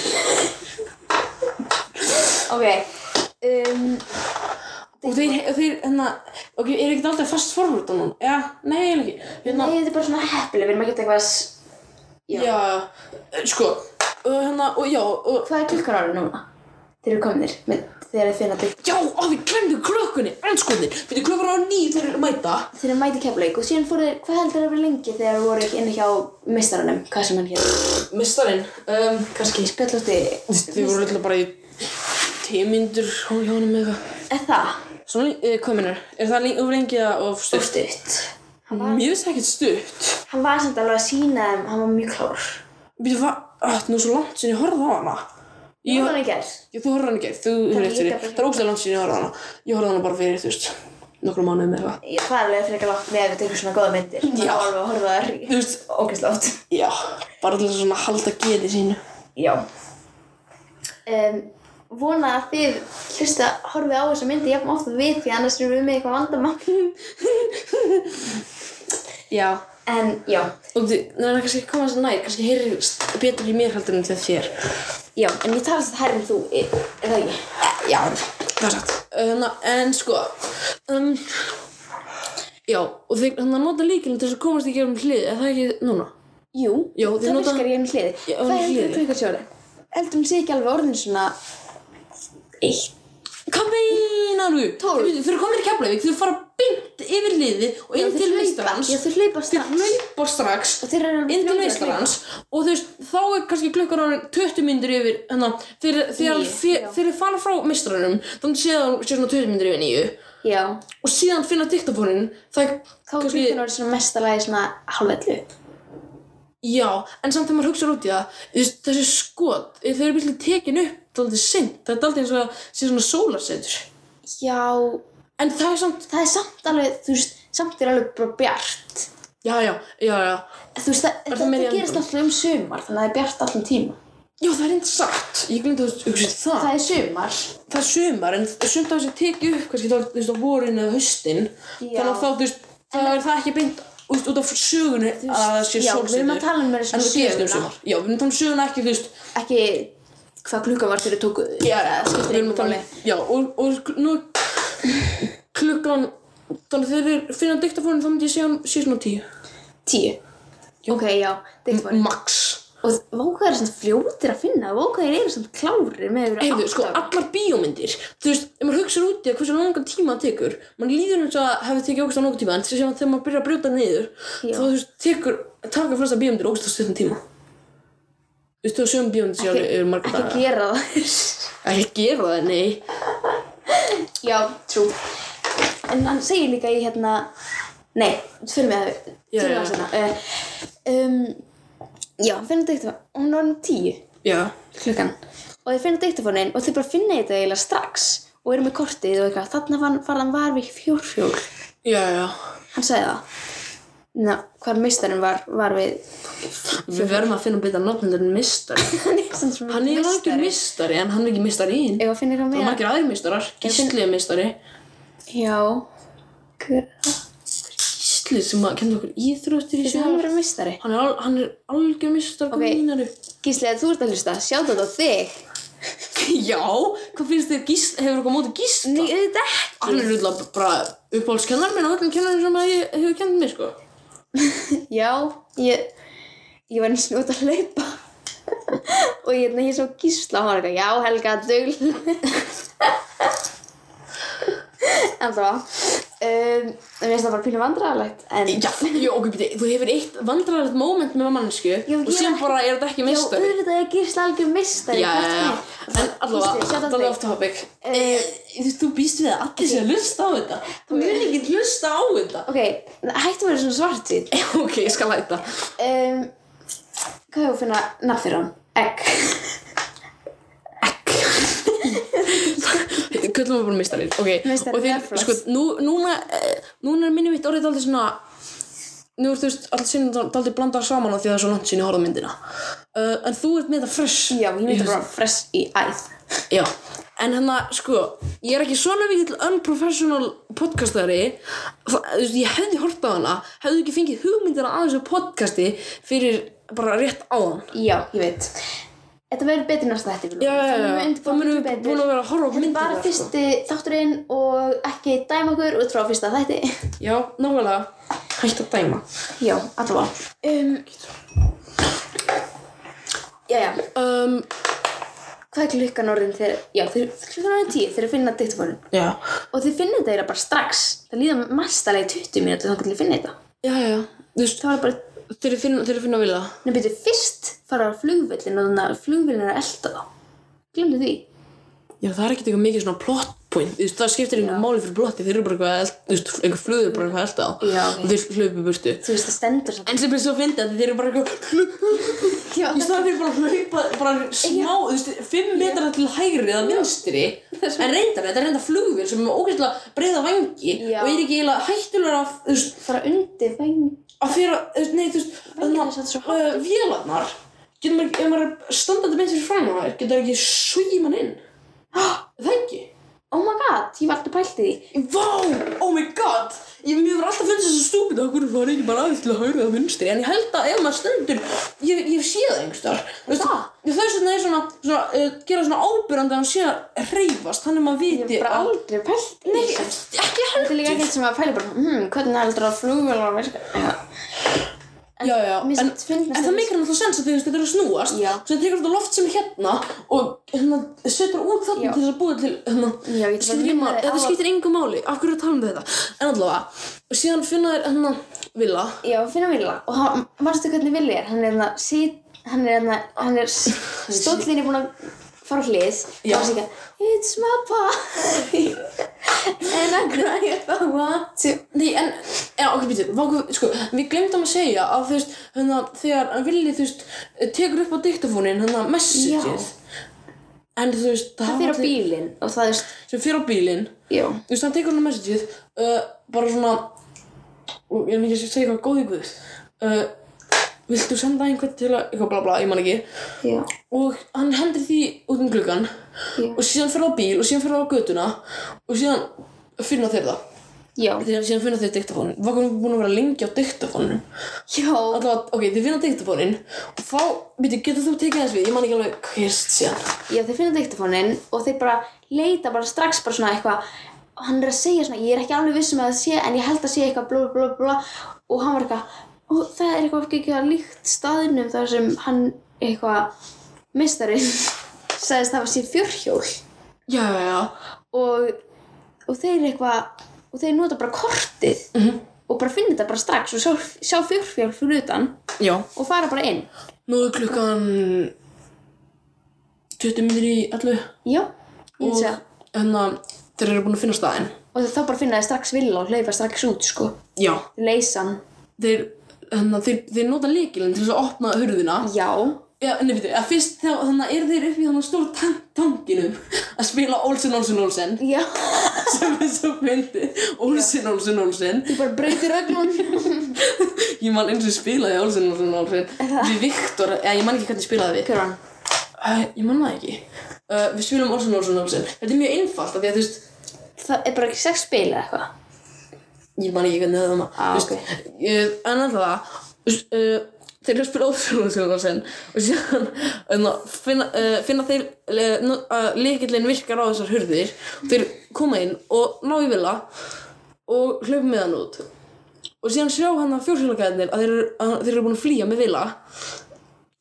[laughs] Ok um,
Og þeir, þeir, hérna, ok, er ekkert aldrei fast forvörð á núna? Já, nei, ég ekki Hérna,
Nei, þetta er bara svona heppileg, við erum ekki að eitthvað s- Já.
Já, eh, sko og hérna, og já, og
Hvað er klukkan árið núna? Þeir eru komnir með, þegar þeir finna diktofónin
já, á við glemdu klökkunni, anskoðin við klökkar á nýju þegar þeir mæta
Þeir eru mæti keflaug og síðan fóru þeir, hvað heldur þeir að vera lengi þegar þeir voru ekki inni hjá mistaranum, hvað sem hann hér
Mistarinn, um, kannski
Spjallótti
Þið voru alltaf bara í tímyndur hjá hjá honum eða eitthvað
Er það?
Svona, uh, hvað minnur, er það lengi, of lengi eða of
Og
stutt?
stutt
Mér finnst það ekkert stutt
Hann var samt alveg að sína þeim, hann var mjög klár
Býtu, hvað, ah, það er nú svo langt sem ég horfði á hana
Ég var
Ég,
hann í gerð
ég, þú horfði á hana ekki, þú
er
hefur rétt
líka
fyrir
bara-
Það er ógstæðan langt sem ég horfði á hana Ég horfði á hana bara fyrir, þú veist, nokkrum mánuðum eða eitthvað
Ég það er alveg frekar látt með að við tökum svona góða myndir Já Hann
Já.
var alveg að horfa þær í
Þú veist,
ógeðslega oft
já, bara til að svona halda getið sínu
Já um, Vona að þið hlusta horfið á þessa myndi jafn ofta við því annars erum við með eitthvað vandamann
Já,
En já,
og þú, það er kannski að koma þess að nær, kannski heyrist betur í mér heldur en þegar þér.
já, en ég tala þetta hærri en þú, er er það ekki?
Já, það er satt. Þannig, en sko, um, já, og þeir, þannig að nota líkilinn til þess að komast í gegnum hlið, er það ekki núna?
Jú,
Já,
það
þið nota-
virkar í einu hliði.
Já,
Hvað
einu
heldur
hliði.
klukkarsjóri? Heldur hún sé ekki alveg orðin svona eitt,
Hvað meinaru?
Tólf.
Þau eru komin í Keflavík, þau eru fara beint yfir liði og inn til meistarans
Já, þau hlaupa
Þau
strax.
hlaupa strax
Og þeir eru alveg
inn til
fljótir að
meistarans og þú veist, þá er kannski klukkan orðin 20 myndir yfir hana, þegar þegar-
Níu,
þegar
já.
þeir fara frá meistaranum þannig séð að hún sé svona 20 myndir yfir nýju
hlaupa. Já.
og síðan finna diktafónin það er
Þá er klukkan orðið svona mesta lagi svona halvellu.
Já, en samt þegar maður hugsaður út í það, þú veist, þessi skot, þau eru byrjulega tekin upp, það er aldrei sint, það er aldrei eins og að sé svona sólarsetur.
Já,
En það er samt,
það er samt alveg, þú veist, samt er alveg bara bjart.
já, já, já, já,
Þú veist, það,
það
þetta
meira í
gerist
janúar?
alltaf um sumar, þannig að það er bjart allan tíma.
já, það er eins satt, ég glemt að hugsa það.
Það
það.
er sumar.
Það er sumar, en sumt af þessi tekið upp, kannski þá, þú veist, á vorin eða haustin,
Já.
þannig að þá, þú veist, þá er það ekki beint út, út af sögunu að það sé
já,
sólsetur.
við erum að tala um meira
en
svona
það gerist um
söguna.
sumar. Já, við erum að tala um söguna ekki, þú veist,
Ekki hvað klukkan var þegar þau tókuð.
Já,
það skiptir
við erum
einhver
að tala
máli.
um- Já, og, og kl- nú er klukkan Þannig þegar við finna diktafónin þá myndi ég segja hann sé svona tíu
Tíu. Ok, já, diktafónin.
Max
Og vókaðir er svona fljótir að finna, vókaðir eru svona klárir með yfir
Heyrðu, sko, allar bíómyndir Þú veist, ef maður hugsaður úti að hversu langan tíma það tekur mann líður eins og að hefði tekið ógust á nokkuð tíma en þess að þegar maður byrjar að brjóta niður
Já.
þá þú veist, tekur, taka flesta bíómyndir ógust á stuttum tíma Þú veist, þú sögum bíómyndir sér alveg yfir marga
Ekki
daga
gera það. [laughs]
Ekki gera það, nei
Já, trú. En hann segir líka í hérna, nei, fyrir mig það,
Já,
fyrir mig
já.
það sérna. Um, já, hann finnur diktafónin, hún er orðin tíu
Já,
klukkan. Og þeir finna diktafónin og þeir bara finna þetta eiginlega strax og eru með kortið og eitthvað. Þarna var, var hann var við fjórfjól.
já, já
Hann sagði það. Ná, hvar mistarinn var, var við... [laughs]
Við verðum að finna betra nafn en mistar
hann er sem sem
Hann er algjör mistari en hann er ekki mistari í hinn.
Ef að finna eitthvað
Það
meira.
er margir aðrir mistarar. Gísli er mistari.
Já Hver
Gísli sem að kenna okkur íþróttir í
Þessi hann
sjöðar.
verið mistari
Hann er, al, hann er algjör mistar
Ok.
mínari.
Gísli, ef þú ert að hlusta, sjáðu þetta á þig
[laughs] Já, hvað finnst þér Gísli? Hefur eitthvað mótið Gísla?
Nei, auðvitað ekki
Hann er auðvitað bara uppáhaldskennar minn og öllum kennarinn sem að ég hefur kennið mér sko.
Já, ég Ég var eins og út að hlaupa [laughs] Og ég, nei, ég svo Gísla og hann var eitthvað Já, Helga, dugl [laughs] En það var um, Mér finnst það bara pínu vandræðalegt En
Já, já, ok, beti, þú hefur eitt vandræðilegt moment með mannsku
ég
og
er
síðan
ekki-
bara er þetta ekki
Já,
mistari.
auðvitað er Gísla algjör mistari
Já, já, já. En allavega,
Gísli, sjáðu
þetta
á
er
þig
off topic.
Eh,
Þú veist, þú býst við að allir sé að hlusta á þetta. Það mun ekki hlusta á þetta.
Ok, hættum við svona svartýtt
[laughs] Ok, ég skal læta.
um, Hvað hefur að finna nafn fyrir hann? Egg
Köllum við bara mistarir. Ok,
Meistari,
og þeir,
reflex.
sko, nú, núna, eh, núna er minni mitt orðið aldrei svona, nú ert þú veist, allir sinni aldrei blandað saman á því að það er svo langt sinni að horfa á myndina. Uh, en þú ert með þetta fresh.
Já, ég myndi
Ég-
bara fresh í æð
Já, en hérna, sko, ég er ekki svona mikill unprofessional podcastari, Þa- þú veist, ég hefði hort á hana, hefði ekki fengið hugmyndina að þessu podcasti fyrir bara rétt á hann.
Já, ég veit Þetta verður betur næsta þetta
Já, já, já, já. þá munum við búin að vera að horfa á
Þetta er
myndina.
bara
sko.
fyrsti þátturinn og ekki dæma okkur út frá fyrsta þætti
Já, nákvæmlega. Hætt að dæma.
Já, allavega um, Já, já,
Um,
hvað er klukkan orðin þegar Já, þeir, klukkan orðin tíu þegar þeir finna diktafónin
já.
Og þeir finna þetta eiginlega bara strax Það líða mestalegi 20 mínútur þannig til að finna þetta
Já, já. Þú veist,
Það var bara
þeir eru finna, þeir eru finna að vilja.
Nei, byrju, fyrst fara á flugvöllin og þannig að flugvöllin er að elda þá. Glemdu því.
Já, það er ekkert eitthvað mikið svona plot point. Þú veist, það skiptir einhver máli fyrir plotti. Þeir eru bara eitthvað, að eld- þú veist, einhver flöður bara eitthvað að elda á.
Já, ok.
Og þeir hlaupi burtu.
Þú veist, það stendur samt.
En sem er svo fyndið að þeir eru bara eitthvað,
Já,
í staðan fyrir bara að hlaupa, bara smá, þú veist, fimm metrar til hægri eða vinstri. En reyndar, þetta er reyndar flugvél sem er ógeðslega breiða vangi
Já.
og er ekki eiginlega hættulega, þú veist,
fara undir væng.
að fyrra, þú veist, nei, þú veist,
Vængirnar satt svo
þannig að vélarnar, getur maður, ef maður er standandi beint fyrir fram á þær, getur það ekki svíð mann
[gasps]
inn. Er Það ekki?
Oh my god, ég var aldrei pælt í því.
Vá, oh my god, ég mér hefur alltaf fundið þessu stúpid að hverju fara ekki bara aðeins til að hægra það vinstri, en ég held að ef maður stendur, ég, ég sé það einhvers þar, þú veist,
Það?
það er svona, svona, svona uh, gera svona ábyrjandi að hann sé að reyfast, þannig að maður
Ég
viti
var bara
að,
aldrei pælt í
nei,
því.
ekki
Þetta er líka
heldur,
ekkert sem að pæla bara, hmm, hvernig heldur það flugvöllin að verka? Já.
Já, já,
Mér
en,
finnst fyndnast að-
en það meikir náttúrulega sens að þau þetta er að snúast
Já.
Svo það tekur þetta loft sem er hérna og hérna, setur út þarna
Já.
til þess að búa til hérna,
Já, ég ætla bara að
skiptir
vinna
engu máli,
þig
þetta
á-
skiptir engu máli, af hverju er að tala um þetta En allavega, og síðan finna þér hérna villa
Já, finna Villa og hann, varstu hvernig Villa er? Hann er hérna, sit, hann er hérna, hann er stóllin er búin að fara á hlið
Já.
og hann sé ekki að It's my [laughs] party and I cry if I want to
Nei, en, já, ok, býtum, váku, sko, við glemdum að segja að, þú veist, hérna, þegar Willi, þú veist, tekur upp á diktafónin, hérna, messageið, en, þú veist,
Það
hafa
fyrir á
allir-
bílinn og það er,
sem fyrir á bílinn,
já,
þú veist, hann tekur hann messageið, uh, bara svona, og ég veit ekki að segja eitthvað góð í guð, uh, viltu senda einhvern til að, eitthvað bla bla, ég man ekki,
já,
og hann hendir því út um gluggan,
Já.
og síðan fyrir á bíl, og síðan fyrir á götuna, og síðan finna þeir það.
já,
Þegar síðan finna þau diktafónin, var komum búin að vera lengi á diktafónin
já,
Alltaf, ok, þið finna diktafónin og þá, veitu, getur þú tekið þess við, ég man ekki alveg hvist síðan
já, þeir finna diktafónin og þeir bara leita bara strax bara svona eitthvað og hann er að segja svona, ég er ekki alveg viss um að það sé en ég held að sé eitthvað blá blá blá og hann var eitthvað, og það er eitthvað ekki að líkt staðinum þar sem hann eitthvað mistarinn [laughs] sagðist það var sér fjörhjól
Já, já, já,
og, og þeir eitthvað og þeir nota bara kortið -hmm. og bara finna þetta bara strax og sjá, sjá fjörhjól fyrir utan
já
og fara bara inn
Nú er klukkan 20 minnir í allu
já, ég
og
sé það
hérna, þeir eru búin að finna staðinn
og þá bara finna þeir strax vilja og hlaupa strax út sko
Já,
leysan,
þeir, hérna, þeir, þeir nota líkilinn til þess að opna hurðina
já
Já, nei, veitu, að fyrst þá, þannig er þeir upp í þannig stór tank, tankinum [laughs] að spila Olsen, Olsen, Olsen
já,
sem er svo fyndi Olsen, Olsen, Olsen
ég bara breytir ögnum
Ég man eins og spilaði Olsen, Olsen, Olsen Við Viktor, eða ég man ekki hvernig spilaði við
hver var hann?
uh, Ég man það ekki uh, Við spilum Olsen, Olsen, Olsen Þetta er mjög einfalt af því að þú veist
það er bara ekki sex spil eða eitthvað
Ég man ekki hvernig það var
Ah,
Þú veist, ég- En að það þú veist, uh, Þeir eru að spila Olsen, Olsen, Olsen Og síðan um, finna, uh, finna þeir uh, að Líkillin virkar á þessar hurðir Þeir koma inn og ná í vila Og hlaupa með hann út Og síðan sjá hann að fjórhjólagæðinir að þeir eru, að þeir eru búin að flýja með vila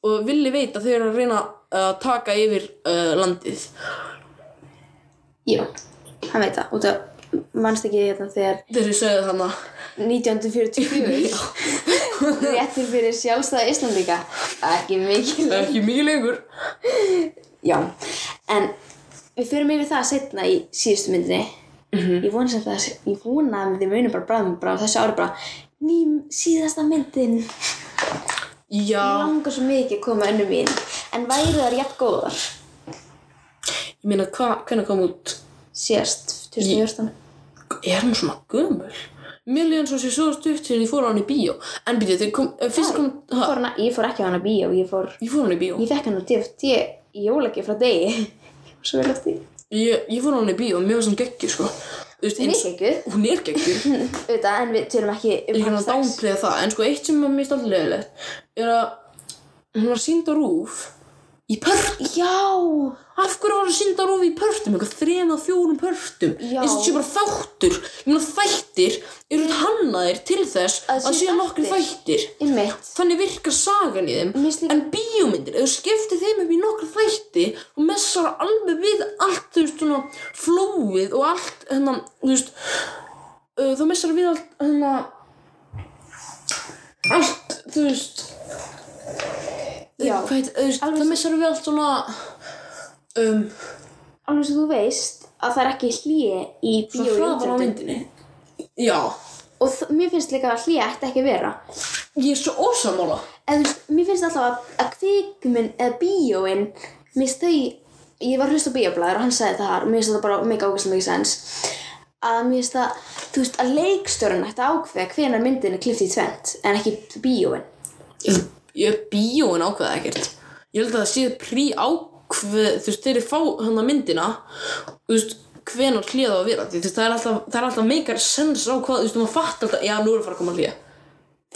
og villi veit að þeir eru að reyna að taka yfir uh, landið.
já, hann veit það út af, mannst ekki þetta þegar
Þeir eru sögðu þannig að
1944 réttir fyrir sjálfstæða Íslandíka ekki mikil
það er ekki mikið lengur.
já, en við förum yfir það setna í síðustu myndinni ég vona sem það ég vona að þið munum bara bráðum bara á þessu ári bara ný síðasta myndin
Já,
Ég langar svo mikið að koma önnum mín En væri þar jafn góðar
ég meina hva, hvernig kom út?
Sérst, 2014
Er hún svona gömul? Mér líðan svo sé svo stutt sem ég fór á hann í bíó. En býtið, þeir kom, eh, fyrst kom,
Ég
ha,
fór, hana, ég fór ekki á hana í bíó Ég, fór,
ég fór á hann í bíó.
ég fekk hana á DFT í jólagjöf frá degi Og svo vel eftir
Ég, ég fór á hann í bíó, mér var svona geggjur sko. Þú veist,
Mér
eins,
gekkið
hún er geggjur.
[laughs] Auðvitað, en við tölum ekki um
Ég kann að downplaya það, en sko eitt sem er mist alltaf leðilegt er að hún var sínd á rúf í pört.
Já,
Af hverju var hún sínd á rúf í pörtum? Eitthvað þrem að fjórum pörtum.
Já.
Eins og sé bara þáttur. Ég meina þættir eru hannaðir til þess
Að
að
sé
séu nokkri þættir.
einmitt
Þannig virkar sagan í þeim.
Mér finnst líka-
En bíómyndir, ef þú skiptir þeim upp í nokkra þætti og messar alveg við allt, þú veist, svona flóið og allt, hérna, þú veist, uh, þá messar við allt, hérna, allt, þú veist,
Já.
hvað heit, þú veist,
Alveg
þá messar við allt svona, um,
Alveg sem þú veist að það er ekki hlýi í bíó
svona hraðar á myndinni. Já,
Og þ- mér finnst líka að hlýi ætti ekki að vera
ég er svo ósamála.
En þú veist, mér finnst alltaf að, að kvikminn eða bíóinn, mér finnst þau, ég var að hlusta á bíóblæður og hann sagði það og mér finnst þetta bara mega ógæslega mikið sens. Að mér finnst það, þú veist, að leikstjórun ætti að ákveða hvenar myndin er klift í tvent en ekki bíóinn.
Ég, ég bíóin ákveða ekkert. Ég held að það sé prí ákveð, þú veist, þeir fá hana myndina, þú veist, hvenar hlýða á að vera. Því, Þú veist, það er alltaf, það er alltaf meikar sens á hvað, þú veist, maður fattar alltaf, já, nú er að fara að koma að hlýja.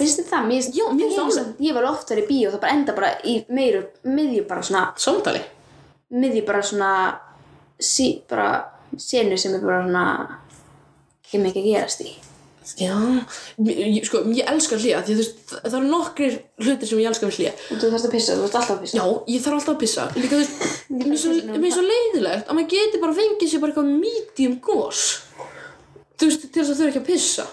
Finnst þið það? Mér finnst,
Já, mér finnst
ég,
það
ég, ég var oft verið í bíó og það bara enda bara í meiru, miðju bara svona,
Samtali.
miðju bara svona, sí, bara senu sem er bara svona, ekki mikið að gerast í.
Já, ég, sko, ég elska að hlýja því þú veist, það, það eru nokkrir hlutir sem ég elska að hlýja
Og þú þarfst að pissa, þú þarfst alltaf að pissa
Já, ég þarf alltaf að pissa Líka þú
[laughs]
veist,
Ég
mér er svo,
pissa núna.
mér er svo leiðilegt að maður geti bara fengið sér bara eitthvað medium gos Þú veist, til þess að þau eru ekki að pissa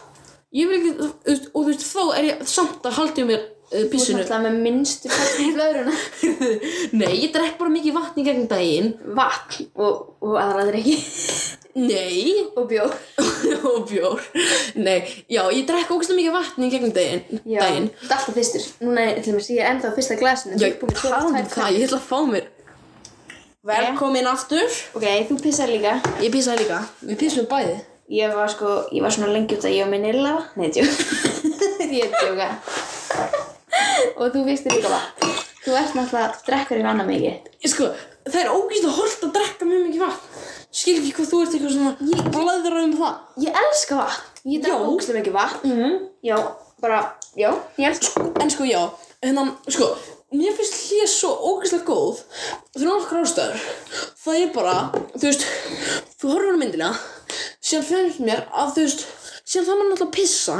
Ég vil ekki, þú veist, og þú veist, þá er ég samt að haldið mér uh,
Þú ert
pissinu
alltaf með minnstu fætt í blöðruna [laughs]
[laughs] Nei, ég drekk bara mikið vatn í gegn daginn
Vatn og, og aðraður ekki [laughs]
Nei, [laughs]
Og bjór
og bjór Nei, já, ég drekk ógæslega mikið vatn í gegn daginn,
Já,
daginn.
þú ert alltaf fyrstur Núna, er- til dæmis, ég er ennþá á fyrsta glasinu
Já,
um
talandum það, ég ætla að fá mér
Eh?
Velkomin aftur
Ok, þú pissar líka
Ég písaði líka Við písum bæði
Ég var sko, ég var svona lengi út að ég og minni illa Nei, tjók [laughs] Ég er tjóka Og þú fyrstur líka vatn Þú ert náttúrulega, drekkur þér annað mikið
Ég sko, það er ógæslega hort að drekka mjög mikið vatn Skil ekki hvað þú ert eitthvað svona Ég blæður um það
Ég elska vatn Ég drekk
Já.
ógslum mikið vatn Mhm. Já, bara, já, ég elska vatn
En sko, já, hérna, sko Mér finnst hlýja svo ógæslega góð Það er nokkur ástæður Það er bara, þú veist Þú horfir á myndina Síðan finnst mér að, þú veist Síðan það maður náttúrulega að pissa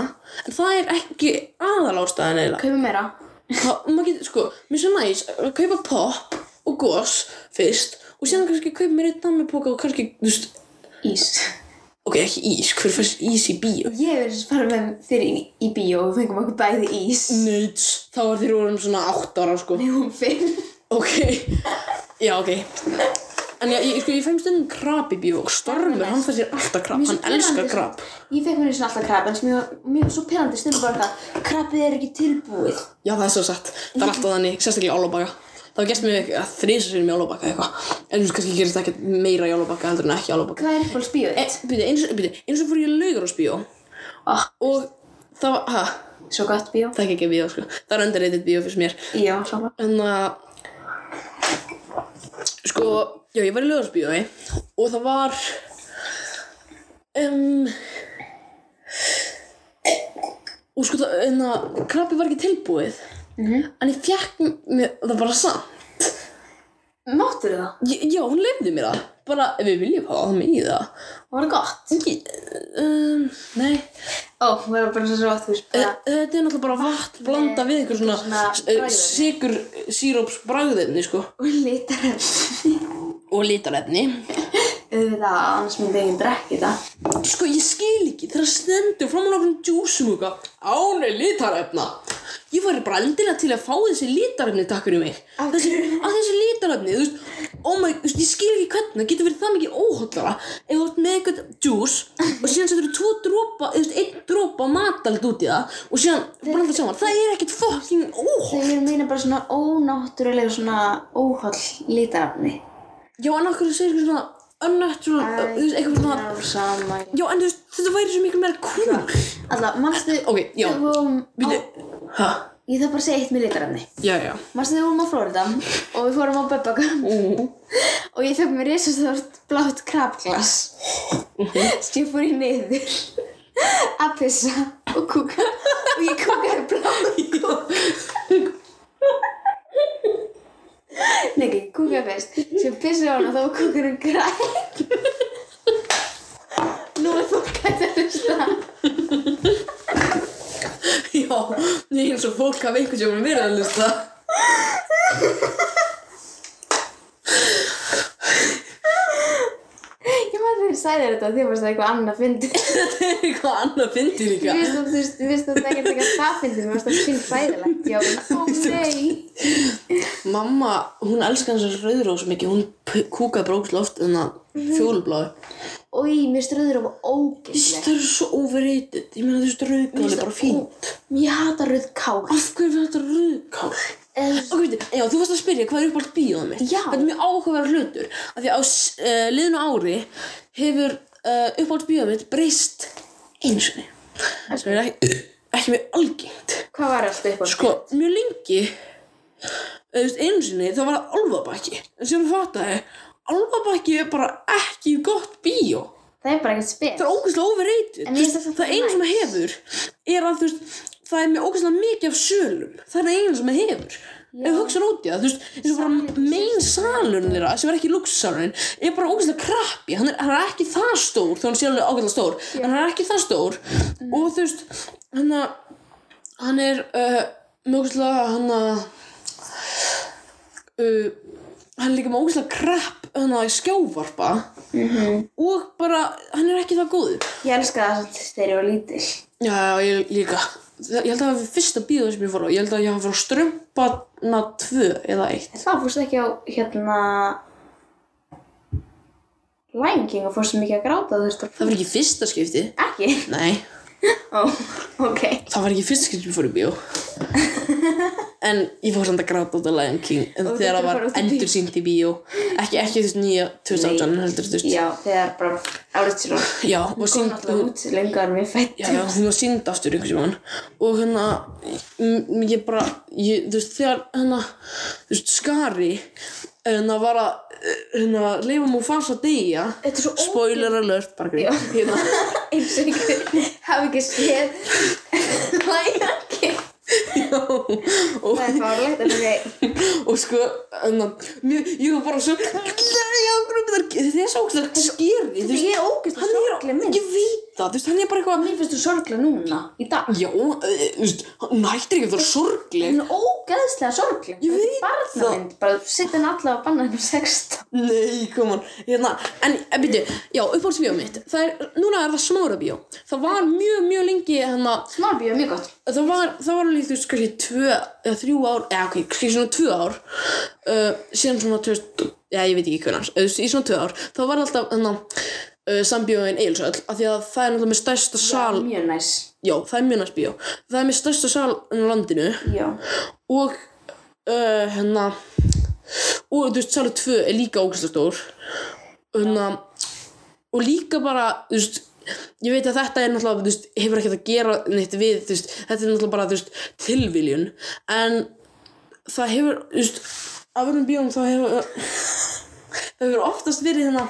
En það er ekki aðal ástæðan eiginlega
Kaupa meira
Það, og maður getur, sko, mér finnst svo næs að kaupa pop og gos fyrst og síðan kannski kaupa mér einn dammipoka og kannski, þú veist,
Ís
ok, ekki ís, hver fæst ís í bíó?
Ég hef verið að fara með þér í, í bíó og við fengum okkur bæði ís
Nuts, þá var þér vorum svona 8 ára, sko.
Nei, hún fimm
Ok, já, ok. En já, ég, sko, ég fæm stundum krab í bíó og Stormur, hann fæst sér alltaf krab,
Mér
hann
finnst sko. svo
elskar
pirrandi,
krab.
Ég fekk mér eins og alltaf krabba en sem ég var, mér var svo perandi stundum bara það Krabbið er ekki tilbúið
Já, það er svo satt, það er alltaf þannig, sérstaklega í álóbaka. Það var gæst mér þrísa sinni með álóbaka eitthvað. En þú veist, kannski gerist það ekkert meira í álóbaka heldur en ekki í E, álóbaka.
Hvað er uppáhalds bíó þitt?
Býtu, eins, og- býtu, eins og fór ég laugur á spíó
Oh,
og það var, ha,
svo gott bíó
það er ekki bíó sko, það er underrated bíó fyrir mér
Já, sama
en að sko, já ég var í lögarsbíói og það var um, og sko það, en að krabbi var ekki tilbúið
Mhm.
en ég fjekk mér það bara samt
Máttur það?
Ég- já, hún lefði mér það bara, ef við viljum hafa það með í það
Var það gott?
Ég- um, nei
Ó, oh, var það bara svo rátt þú veist
Eh,
bara
Þetta er náttúrulega bara vatn blanda við einhver svona
Svona
eh,
bragðefni.
sykur síróps bragðefni sko
Og litar
og litarefni
[laughs] Auðvitað, annars myndi ég ekki drekki það
Sko ég skil ekki þegar stendur fram á nokkrum djúsumuga án er litarefna Ég var bara endilega til að fá þessi litarefni takk fyrir mig
Af
þessi, að þessi litarefni, þú veist Oh my, þú veist, ég skil ekki hvernig það getur verið það mikið óhóllara ef þú ert með einhvern djús og síðan setur þú tvo dropa, þú veist, einn dropa matald út í það og síðan blandar saman, það er ekkert fucking óhóll
Þegar ég meina bara svona ónáttúrulega svona óholl litarafni
Já, en okkur segir eitthvað svona unnatural, uh, þú veist, eitthvað svona
Sama
Já, en þú veist, þetta væri svo mikið meira cool
Alltaf, mannstu
Ok, já.
Við vorum
Býtu,
á
hæ?
Ég þarf bara að segja eitt með litarefni.
Já, já
Manstu þegar við vorum á Florida og við fórum á Bubba Gump
Ú,
og ég fekk mér risastórt blátt krabglas sem ég fór í niður að pissa og kúka og ég kúkaði blátt
[laughs]
kúk. Nei ekki, kúkaði fyrst sem pissaði á hana og þá kúkur hún græn Nú er fólk hægt að hlusta
já, ég er eins og fólk hafa einhvern sem verið að lusta
Ég maður þegar ég sagði þér þetta því að það var eitthvað annað fyndið
Þetta er eitthvað annað fyndi líka
Mér finnst þú veist, mér finnst þú veist ekkert eitthvað það finnst mér finnst það finn fræðilegt, já, en ó nei.
Mamma, hún elskar hans rauðrós mikið Hún p- kúkaði brókslega oft en það fjólubláði
Ói, mér finnst rauðröf ógeðleg.
Það er svo overrated Ég meina þú veist, rauðkál er bara fínt
Ég hata rauð kál.
Af hverju er þetta rauðkál?
Eða-
Og veitir, já, þú varst að spyrja hvað er uppátt bíóðum mitt.
Já.
Þetta er mjög áhugaverð hlutur. Af því að á uh, liðinu ári hefur uh, uppátt bíóðum mitt breyst einu sinni. Sem er ekki, ekki mjög algengt.
Hvað var alltaf upp á?
Sko, mjög lengi, þú veist, einu sinni þá var það álfabakki. En sem þú fattaði, álfabakki er bara ekki gott bíó.
Það er bara ekkert spil.
Það er ógeðslega overrated.
En
Þú
mér
veist,
finnst það
Það einu
nice.
sem það hefur er að þú veist, það er með ógeðslega mikið af sölum. Það er það einu sem það hefur. Ef þú hugsa út í það, þú veist, þessu bara
Salurinn
main salurinn þeirra sem er ekki luxusalurinn er bara ógæslega krappi, hann er, hann er ekki það stór þó hann sé alveg ágæslega stór en hann er ekki það stór og þú veist, hann að hann er uh, mjögstlega hann að uh, hann er líka með ógæslega krapp hann að skjávarpa
Mhm.
og bara, hann er ekki það góður
Ég elska það samt þegar ég var lítil.
Já, já, ég líka. Það- Ég held að það var fyrsta bíóð sem ég fór á. Ég held að ég hafa fór á strömpana 2 eða 1.
En það fórst ekki á, hérna, Lion King og fórst svo mikið að gráta þú þurft að
Það var ekki fyrsta skipti.
Ekki?
Nei,
Ó, ok.
það var ekki fyrsta skipti sem ég fór í
[laughs]
bíó. En ég fór samt að gráta út af Lion King en
Og
þegar
þú
það
fór út
var
í bíó.
endur sínt í bíó. Ekki, ekki þú veist nýja 2018
Nei.
heldur þú veist.
Já, þegar bara árið sér og
Já, og
kom
sínt,
náttúrulega út lengar en við fættum.
Sko, Já, já, hún var sínd aftur einhvers veginn og hérna m- ég bara, ég, þú veist, þegar hérna, þú veist, skari hérna var að eh, hérna, leifa múið fans að deyja
Þetta er svo ógeð-
spoiler alert, bara
Já.
greið hérna,
eins og einhver hafi ekki séð Lion King.
já, og,
Það er fárlegt en ok.
og sko hérna, mér, ég var bara svo já, grúmi þar, þetta er svo ógæslega skeri, þú
Þetta
veist,
er ógæst og
hann er,
sorglega mynd.
ég veit það, þú veist, hann er bara eitthvað
Mér finnst þú sorglega núna, í dag.
já, eh, þú veist, hann hættir ekki að vera sorgleg
Hún er ógæðslega sorglega.
Ég veit
það. Þetta er barnamynd, bara setja hann allavega að banna henni 16.
Nei, koman, hérna, en eh, byrju, já, uppáhaldsbíó mitt, það er, núna er það smára bíó, það var mjög, mjög lengi, hérna,
Smárbíu er mjög gott.
það var, það var líkt, þú veist, kannski tvö, eða þrjú ár, eða ok, kannski svona tvö ár, uh, síðan svona, þú veist, já, ég veit ekki hvernar, eða þú veist, í svona tvö ár, þá var alltaf, hérna, uh, sambíóin Eilsöll, af því að það er náttúrulega með stærsta sal,
Mjög næs.
já, það er mjög næst bíó, það er með stærsta sal á landinu,
Já.
og uh, hérna og þú veist, salur 2 er líka ógæslega stór og hérna og líka bara, þú veist ég veit að þetta er náttúrulega, þú veist, hefur ekkert að gera neitt við, þú veist, þetta er náttúrulega bara þú veist, tilviljun, en það hefur, þú veist af öðrum bíóum þá hefur það hefur oftast verið hérna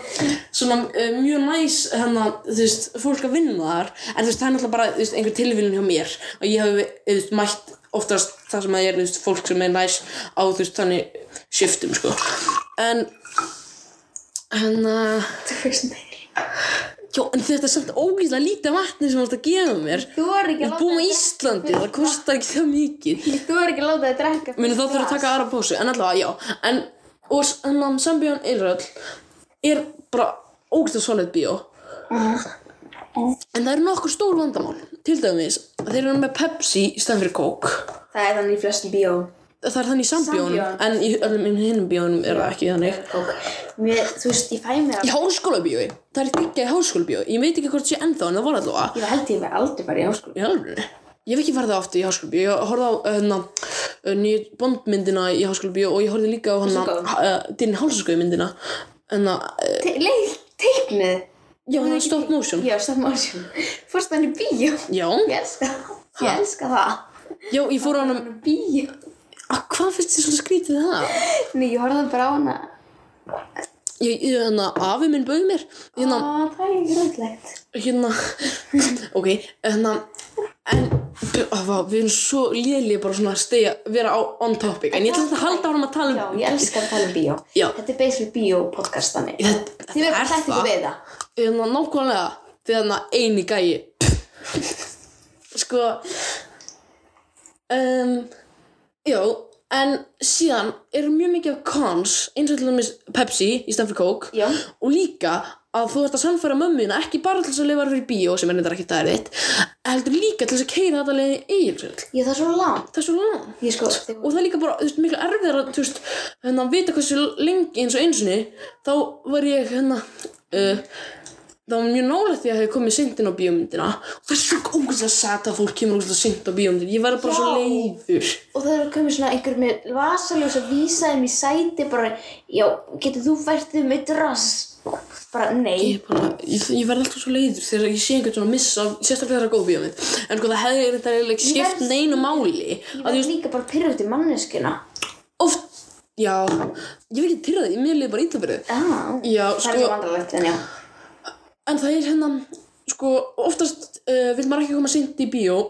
svona uh, mjög næs hérna, þú veist, fólk að vinna þar en þú veist, það er náttúrulega bara, þú veist, einhver tilvílun hjá mér og ég hef, þú veist, mætt oftast það sem að ég er, þú veist, fólk sem er næs á, þú veist, þannig shiftum, sko en en, uh,
Þú fyrst meir.
já, en þetta er samt ógíslega lítið vatni sem þú ert að gefa mér
Þú er ekki
við
að
búum á
láta
Íslandi, það kostar ekki það mikið
Þú er ekki að láta þið drekka.
Minu þá þurfum við að taka aðra pásu, en allavega, já. En, og s- hennan Sambjörn Eilröll er bara ógæslega solid bíó. En það eru nokkur stór vandamál. Til dæmis, þeir eru með Pepsi í stæðan fyrir kók.
Það er þannig í flestum bíó.
Það er þannig í sambjónum,
Sambíóunum.
en í öllum hinnum bíónum er það ekki þannig.
Mér, þú veist, ég fæ mér
Í
að...
háskólabíói, það er ekki í háskólabíói. Ég veit ekki hvort sé ennþá, en það var allavega.
Ég held ég verið aldrei bara í háskóla.
Í alveg? Ég hef ekki farið það aftur í háskólabíu. Ég horfði á hérna, uh, nýju bondmyndina í háskólabíu og ég horfði líka á
Hversu góð?
hérna, dyrni hálsaskauði myndina. Hérna, uh,
Te leik, teiknið.
já, hérna stop motion.
Já, stop motion. Fórst hann í bíó.
Já,
Ég elska það. Ég
Ha?
elska það.
já, ég fór á hana,
Hann í bíó.
að hvað finnst þér svona skrítið það?
Nei, ég horfði bara á hana.
Ég, ég, hérna, afi minn bauði mér, hérna,
Á, það er ekki röndlegt.
hérna, [laughs] ok, hérna, en, afa, við erum svo léli bara svona að stegja, vera á, on topic, en ég ætla þetta að halda ára að
Já,
tala um,
ég elska að tala um bíó.
Já.
Þetta er basically bíó podcast þannig.
Þetta-
Þið verður
þetta er
bara þetta
það.
ekki við það.
hérna nákvæmlega þegar hérna eini gæi sko um, já en síðan eru mjög mikið af cons eins og til dæmis Pepsi í stand fyrir kók
Já.
og líka að þú ert að sannfæra mömmuna ekki bara til þess að lifa þér fyrir bíó sem er neitt ekki það er þitt heldur líka til þess að keira þetta leiði eiginlega
Ég það er svo langt.
það er svo langt
Ég sko,
og það er líka bara, þú veist, miklu erfiðar að, þú veist, hérna, vita hversu lengi eins og einsinni, þá var ég, hérna, uh, það var mjög nálægt því að ég hefði komið seint inn á bíómyndina og það er svo ógæslega sætt að fólk kemur ógæslega seint á bíómyndina, ég verði bara svo
Já.
leiður.
og það eru komið svona einhver með vasaljós að vísa þeim í sæti bara, já, getur þú fært þig með drass? Bara,
Ég,
nei.
er bara, ég, ég verði alltaf svo leiður þegar ég sé einhvern svona missa, sérstaklega þegar það er góð bíómynd, en sko það hefði þetta eiginlega ekki
Ég verð-
skipt neinu máli,
Ég
að
var
ég veist,
líka bara pyrrut í manneskuna.
oft, já, ég veit ekki til það, ég mér leiði bara ítla fyrir þið.
Já,
Já,
Ah. það er
sko,
svo vandralegt, en já.
eh, En það er hérna, sko, oftast uh, vil maður ekki koma sent í bíó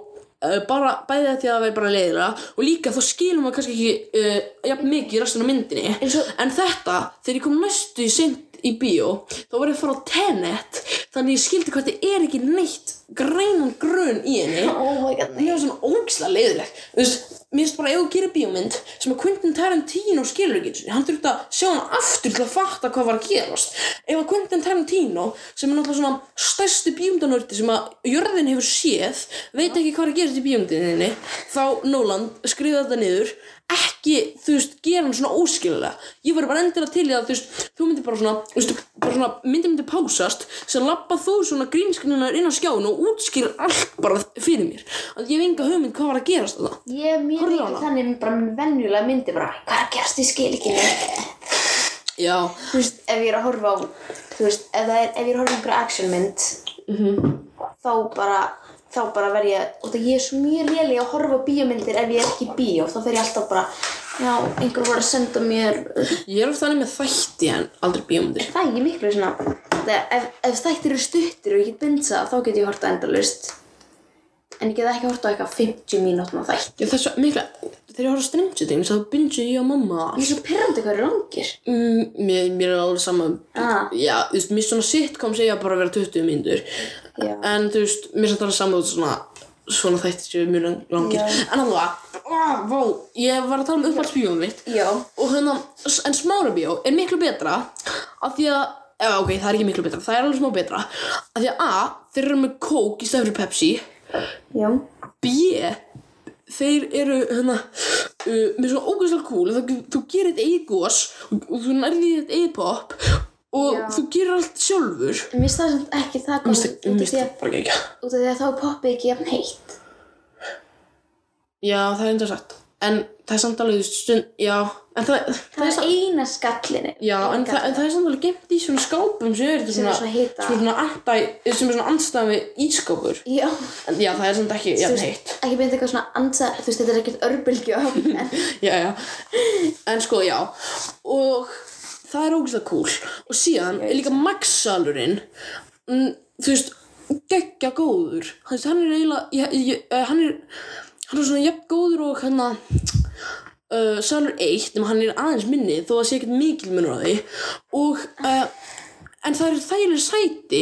uh, bara, bæði þetta að vera bara leiðilega og líka þá skilum maður kannski ekki uh, jafn mikið í restina af myndinni
En svo-
en þetta, þegar ég kom næstu í sent í bíó, þá var ég að fara á Tenet þannig ég skildi hvað þetta er ekki neitt grænan grun í henni
Oh my god, nei.
mér var svona ógislega leiðilegt þú veist, mér finnst bara ef þú gerir bíómynd sem að Quentin Tarantino skilur ekki einu sinni, hann þurfti að sjá hann aftur til að fatta hvað var að gerast ef að Quentin Tarantino sem er náttúrulega svona stærsti bíómyndanördi sem að jörðin hefur séð veit ekki hvað er að gerast í bíómyndinni þá Nolan skrifa þetta niður ekki, þú veist, gera hann svona óskilulega ég var bara endilega til í að þú veist þú myndir bara svona, þú veist, bara svona myndi myndi pásast, sem lappa þú svona grínskrinunar inn á skjáin og útskýr allt bara fyrir mér, að ég hef enga hugmynd hvað var að gerast þetta
Ég er mjög
Horfðu
mikið
á hana.
þannig bara með venjulega myndi bara Hvað er að gerast, ég skil ekki neitt
já,
Þú veist, ef ég er að horfa á Þú veist, ef, það er, ef ég er að horfa á einhverja actionmynd Mhm. Þá bara Þá bara verð ég Og það ég er svo mjög léleg að horfa á bíómyndir Ef ég er ekki í bíó, þá fer ég alltaf bara Já, einhver voru að senda mér
ég er oft þannig með þætti en aldrei bíómyndir
Það er ekki miklu svona Þetta, ef, ef þættir eru stuttir og ég get bindsa Þá get ég horta endalust En ég get ekki horta á eitthvað 50 mínútna þætt
ég þessu mikla, þegar ég horf á Stranger Things þá bingi ég og mamma
Ég er svo pirrandi hvað eru langir
Mm, mér, mér er alveg sama
Ah.
já, þú veist, mér svona sitcom segja bara að vera 20 myndur
Já.
en þú veist, mér samt alveg sama út svona svona þættir séu mjög lang- langir
Já.
en alveg, oh, vá, ég var að tala um upphaldsbíóum mitt
Já
og hérna, en smára bíó er miklu betra af því að Já, ok, það er ekki miklu betra, það er alveg smá betra af því að A, þeir eru með kók í stæðan fyrir Pepsi
Já
B þeir eru hérna uh, með svona ógæslega cool þú, þú gerir eitt eigið gos og, og þú nærði þitt eigið pop og
Já.
þú gerir allt sjálfur
Mér finnst það samt ekki það góð
Misti,
út, af því
misti,
að-
bara ekki
út af því að þá er poppið ekki jafn heitt
Já, það er enda sagt en það er samt alveg stund já, en það, það,
Það
er
er
samt
eina skallinu
Já, en það, en það er samt alveg gemt í svona skápum sem er
Sem er
svona,
svona hita.
sem er svona, anti, sem er svona andstæðan við ískápur
Já
en já, það er samt ekki, já,
Þú veist,
heitt
Ekki beint eitthvað svona ansa Þú veist, þetta er ekkert örbylgju
[laughs]
en
já, já. En sko, já. Og það er ógeðslega cool. Og síðan er líka Max-salurinn, mm, þú veist, geggja góður. Þú veist, hann er eiginlega, ég, ég, eh, hann er, hann er svona jafn góður og hérna, uh, salur 1, nema hann er aðeins minni, þó að sé ekkert mikil munur á því. Og, uh, en það eru þægileg sæti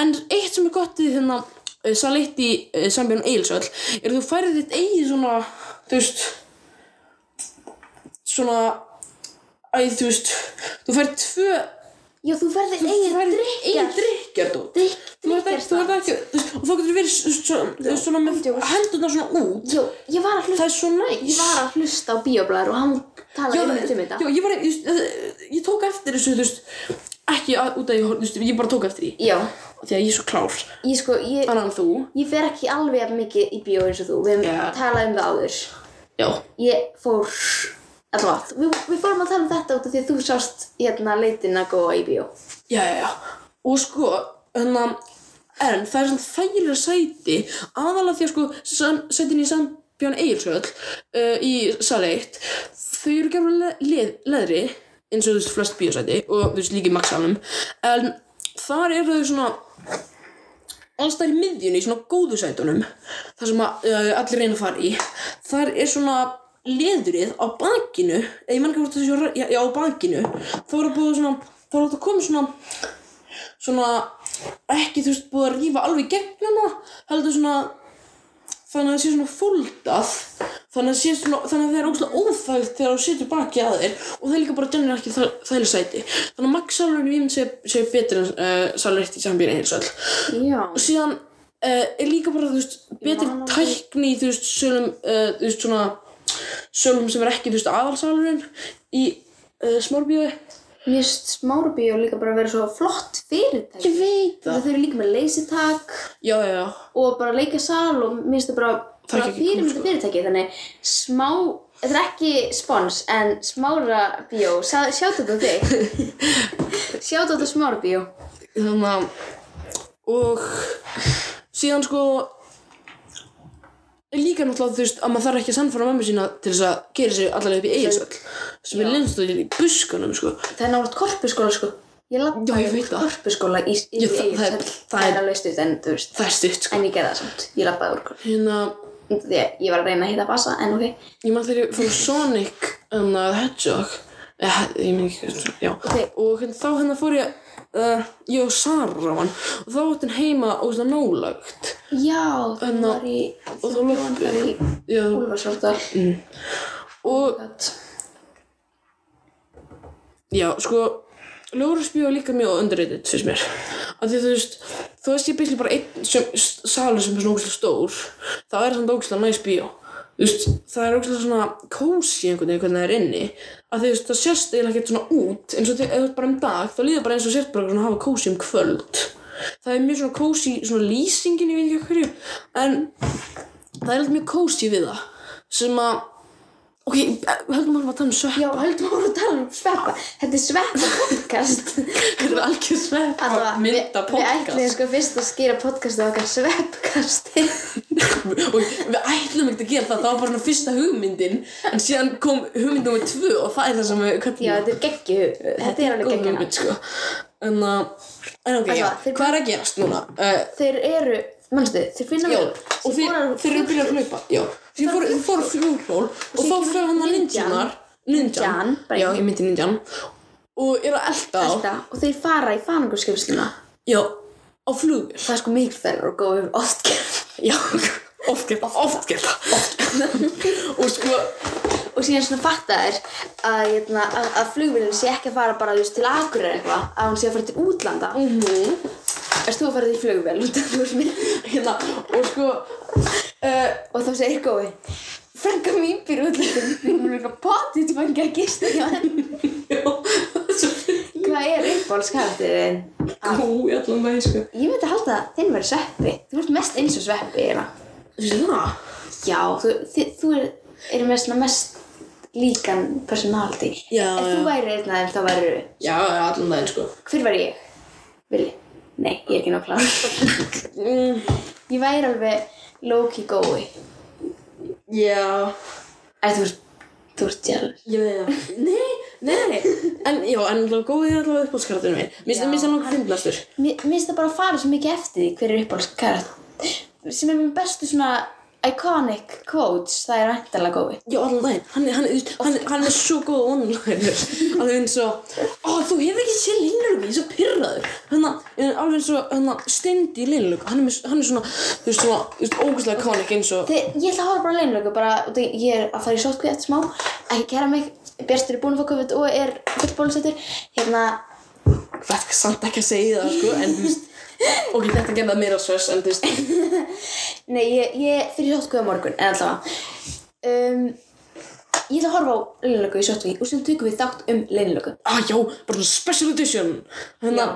en eitt sem er gott við þennan uh, sal 1 í uh, sambjörn Eilsöll er að þú færið þitt eigið svona þú veist svona æ, þú veist þú færið tvö
Já, þú verður
þú
eigin
færð
drikja
eigin drikkjardót
Drikk,
þú ert ekki, þú ert ekki þú veist, og þá getur verið s- s- svona, þú veist, svona með
Andjós.
hendurna svona út
Jú, ég var að
það
hlusta
er svo næs
Ég var að hlusta á bíoblæður og hann
Já,
talaði um þetta um þetta
já, ég var, ég, ég, ég tók eftir þessu, þú veist, ekki að, út af, ég, þú veist, ég bara tók eftir því,
Já,
því að ég er svo klár,
ég sko, ég,
annan en þú,
ég fer ekki alveg jafn mikið í bíó eins og þú Við hefum
Já.
talað um það áður
já,
Ég fór, allavega, við, við fórum að tala um þetta út af því að þú sást hérna leitina góa í bíó
já, já, já, og sko, hérna, en það er svona þægilega sæti, aðalega því að sko, sam, sætin í Sambjörn Egilsöld, uh, í sal 1, þau eru gefur le, le, leðri, eins og þú veist, flest bíosæti, og þú veist, líka í maksalum, en þar eru þau svona, alls það er í miðjunni, í svona góðu sætunum þar sem að, uh, allir reyna að fara í þar er svona leðrið á bakinu eða ég menn ekki hvort þessi var já, já, á bakinu þá er að búið svona þá er að koma svona svona ekki þú veist búið að rífa alveg í gegnuna heldur svona þannig að það sé svona fóldað þannig að, sé svona, þannig að það er ógstlega óþægt þegar þú situr baki að þeir og það er líka bara dennir ekki þæli sæti þannig að Max Salurinn í minn sé, sé betur en uh, Salur 1 í sambýrið eins og all
Já
og síðan uh, er líka bara, þú veist, betri
man aldrei.
tækni í, þú veist, sölum, uh, þú veist, svona sölum sem er ekki, þú veist, aðalsalurinn í uh, smárbíu
Mér finnst smárabíó líka bara að vera svo flott fyrirtæki.
Ég veit
það. Þau eru líka með leysitak
Já, já, já,
og bara leikasal og mér finnst það bara,
Það er
bara
ekki kúl,
fyrirmynda
sko.
fyrirtæki. Þannig smá, þetta er ekki spons en smárabíó, sjátt þetta
[laughs]
þig. sjátt þetta smárabíó.
þannig að og síðan sko er líka náttúrulega, þú veist, að maður þarf ekki að sannfæra mömmu sína til þess að gera sig allavega upp í eigisöld sem er lindstöðin í buskanum, sko
Það er náttúrulega korpuskóla sko. Ég lappa
Já, ég veit það.
korpuskóla í, í,
Ég- það-
í
það er- það
það
er-
er alveg stutt en þú veist
Það er stutt sko.
En ég gerði það samt, ég lappaði úr korpuskóla
Hérna,
Því að ég var að reyna að hitta bassa en ok
ég maður þegar ég fór á Sonic, hérna, The Hedgehog, eh, ég minn ekki, hvað- já,
Ok.
og hérna, þá hérna fór ég, uh, ég og Sara á hann, og þá átti hann heima og svona nálagt,
Já, það
Ná-
var í
og þá löpum
Það var í
já,
Úlfarsvartar
og, já, sko, Ljóðurspíu er líka mjög underrated, finnst mér, af því að þú veist, þú veist ég byrja bara einn sem, s- salur sem er svona ógæslega stór, þá er það ógæslega næs bíó, þú veist, það er ógæslega svona kósi einhvern veginn hvernig það er inni, af því þú veist, það sést eiginlega ekkert svona út, eins og þegar þú ert bara um dag, þá líður bara eins og sért bara svona að hafa kósi um kvöld, það er mjög svona kósi, svona lýsingin, ég veit ekki af hverju, en það er alltaf mjög kósi við það, sem að, ok, höldum að tala um sveppa,
Já, höldum að voru að tala um sveppa Þetta er sveppa
[laughs]
podcast
þetta er algjör sveppa,
Allavega,
mynda
Við
podcast.
ætlum sko fyrst að skýra podcastið okkar sveppkasti
[laughs] og við ætlum ekkert að gera það, það var bara svona fyrsta hugmyndin en síðan kom hugmynd nummer tvö og það er það sem við köllum
Já, þetta er geggju Þetta er alveg
góð
geggjuna
hugmynd sko. en, uh, en ok,
Allá,
já,
þeir-
hvað er að gerast núna? Uh,
Þeir eru, mannstu, þeir finna
já,
mér
og þeir, þeir eru að byrja að hlaupa já, þeir
Fara
fóru
á
fór fjólhjól og
síðan
þá
kemur
fyrir hann að
ninjan.
ninjanar ninjan,
Ninjan, bara
já,
í-
ég myndi ninjan og eru að elda á
Þetta, og þeir fara í fanungurskjöfsluna
já, á
[laughs]
flugvél
Það er sko mikil þær og góð við oft gerð
já, oft gert það, oft gert það
[laughs]
og sko,
Og síðan svona fatta þær að, hérna, að, að flugvélinn sé ekki að fara bara just, til agurir eitthvað Að hún sé að fara til útlanda mm -hmm. Erst þú að fara því flugvél út af þú smið
hérna, og sko uh,
Og þá segir góði Frænka mín býr útlandum [laughs] Hún er eitthvað potið til fangja að gista hjá henni
Já, það er svo fyrir
Hvað er uppáhaldskaraktérinn?
gó í allan dag, sko.
Ég myndi halda að þinn verið sveppi Þú ert mest eins og sveppi hérna.
Þú veist það?
Já, þú, þið, þú er, eru með svona mest líkan personality
Já,
Ef þú
já.
væri einn af þeim, þá væri
Já, já, allan dag, sko.
Hver væri ég? Vili? Nei, ég er ekki nóg klár
Mm,
[laughs] Ég væri alveg low-key gói
já,
Æ, þú ert, þú ert jealous
ég veit það. Nei, nei, nei. En, já, en allavega góðið er allavega uppáðskaratinu minn. Mér
Já.
finnst- mér finnst það langt fyndnastur.
Mér mér finnst það bara að fara svo mikið eftir því hver er uppáhaldskarat sem er minn bestu svona iconic quotes, það er væntalega gói
Já, allan daginn. Hann, er- hann, er- hann, er- hann er svo góð online. Alveg eins og, ó, þú hefur ekki séð Lillug, ég er svo pyrraður. Hanna, alveg eins og, hanna, Stendi Lillug, hann er, með- hann er svona, þú veist, svona, þú veist, ógustlega konik eins og,
Þið, ég ætla að horfa bara á leinlöku, bara, út af- ég er að fara í sótkví eftir smá, ekki kæra mig, Bjartur er búinn að fá COVID og er full bólusettur, hérna,
verð samt ekki að segja það sko en þú veist ok, þetta gerði það meira stress en þú veist
nei, ég, ég fyrir sótkví á morgun, en allavega, um, ég ætla að horfa á leinlöku í sótkví og sem tökum við þátt um leinlöku.
ah já, bara svona special edition hérna,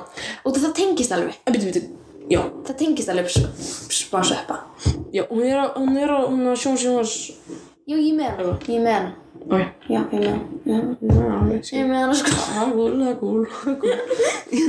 Og það tengist alveg,
en býtu, býtu já,
það tengist alveg sp- smá sveppa.
já, hún er á, hún er á, hún er á sjón sjónars
Jú, ég er með hana, ég er með hana,
ok,
já, ég er með hana, já, ég
já,
er með hana sko.
gúl, gúl, gúl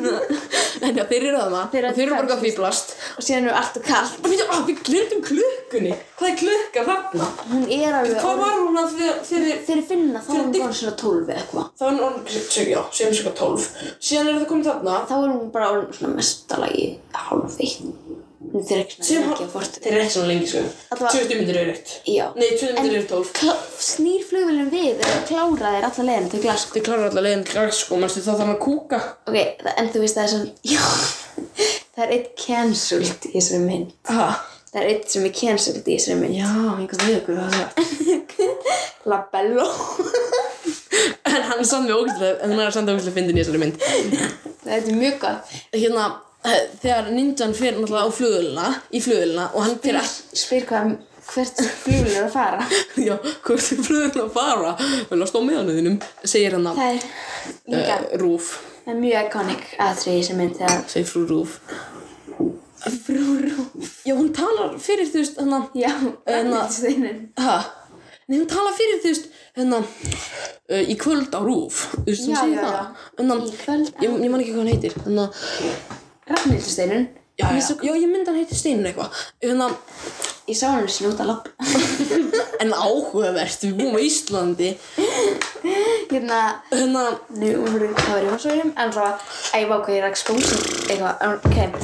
en já, þeir eru að
Hérna.
maður
Þeir eru
og þeir eru bara
tvær,
að fýblast
Og síðan er allt og kallt,
en býtu, ah, við glemdum klukkunni hvað er klukka þarna?
hún er alveg,
hvað var hún að þegar, þegar
þeir finna þá er hún
Fyrir-
bara svona 12 eða eitthvað.
þá er hún orðin, já, sem sko 12 síðan er það komið þarna
þá er hún bara orðin svona mestalagi hálf eitt hún þeir ekki
Sem
svona
hál-
lengi að fórta
þeir eru ekki svona lengi sko
Allavega-
20 minnir eru eitt
Já.
Nei, 20
En-
minnir eru 12
snýr flugvélum við og klára þeir alla leiðin til glask
Þið klarar allar leiðin græs sko, mannstu það þarf að kúka
ok, það, en þú veist það er svona [laughs] já, það er eitt cancelled í þessari mynd
Ha?
það er eitt sem er cancelled í þessari mynd [laughs]
Já, einhvern veginn, hvað það sagt
labello
[laughs]
[laughs]
En hann er samt með ógæslega, en hann er samt ógæslega fyndin í þessari mynd
það er mjög gott
[laughs] Hérna, eh, þegar ninjan fer náttúrulega á flugulina, í flugulina og hann fer ekki
spyr hvað hvert flugvélum er að fara
[laughs] Já, hvort er flugulina að fara? Vel að stó með hann þínum, segir hann að Eh,
það er líka
Rúf,
það er mjög iconic aðtrið í þessari mynd þegar
segir frú Rúf
frú rúf
Já, hún talar fyrir þú veist, hann að
já,
En að-
steinin
Ha? Nei, hún tala fyrir, þú veist, hérna, uh, í kvöld á rúf, þú veist, hún
Já,
segir
já,
það. Hérna,
já.
Þannig,
Í kvöld á
Ég, ég man ekki hvað hann heitir, þannig að,
Ragnhildur steinin
Hérna, já, já, já, ég myndi hann heitir Steinur eitthvað. Þannig að,
Ég sá hann sinni út að lappa.
En áhugavert, við búum á Íslandi
Hérna,
Þannig að
nú voru, það var í vansvörum, en svo að, æ, vá, hvað ég er að expósa eitthvað, en ok.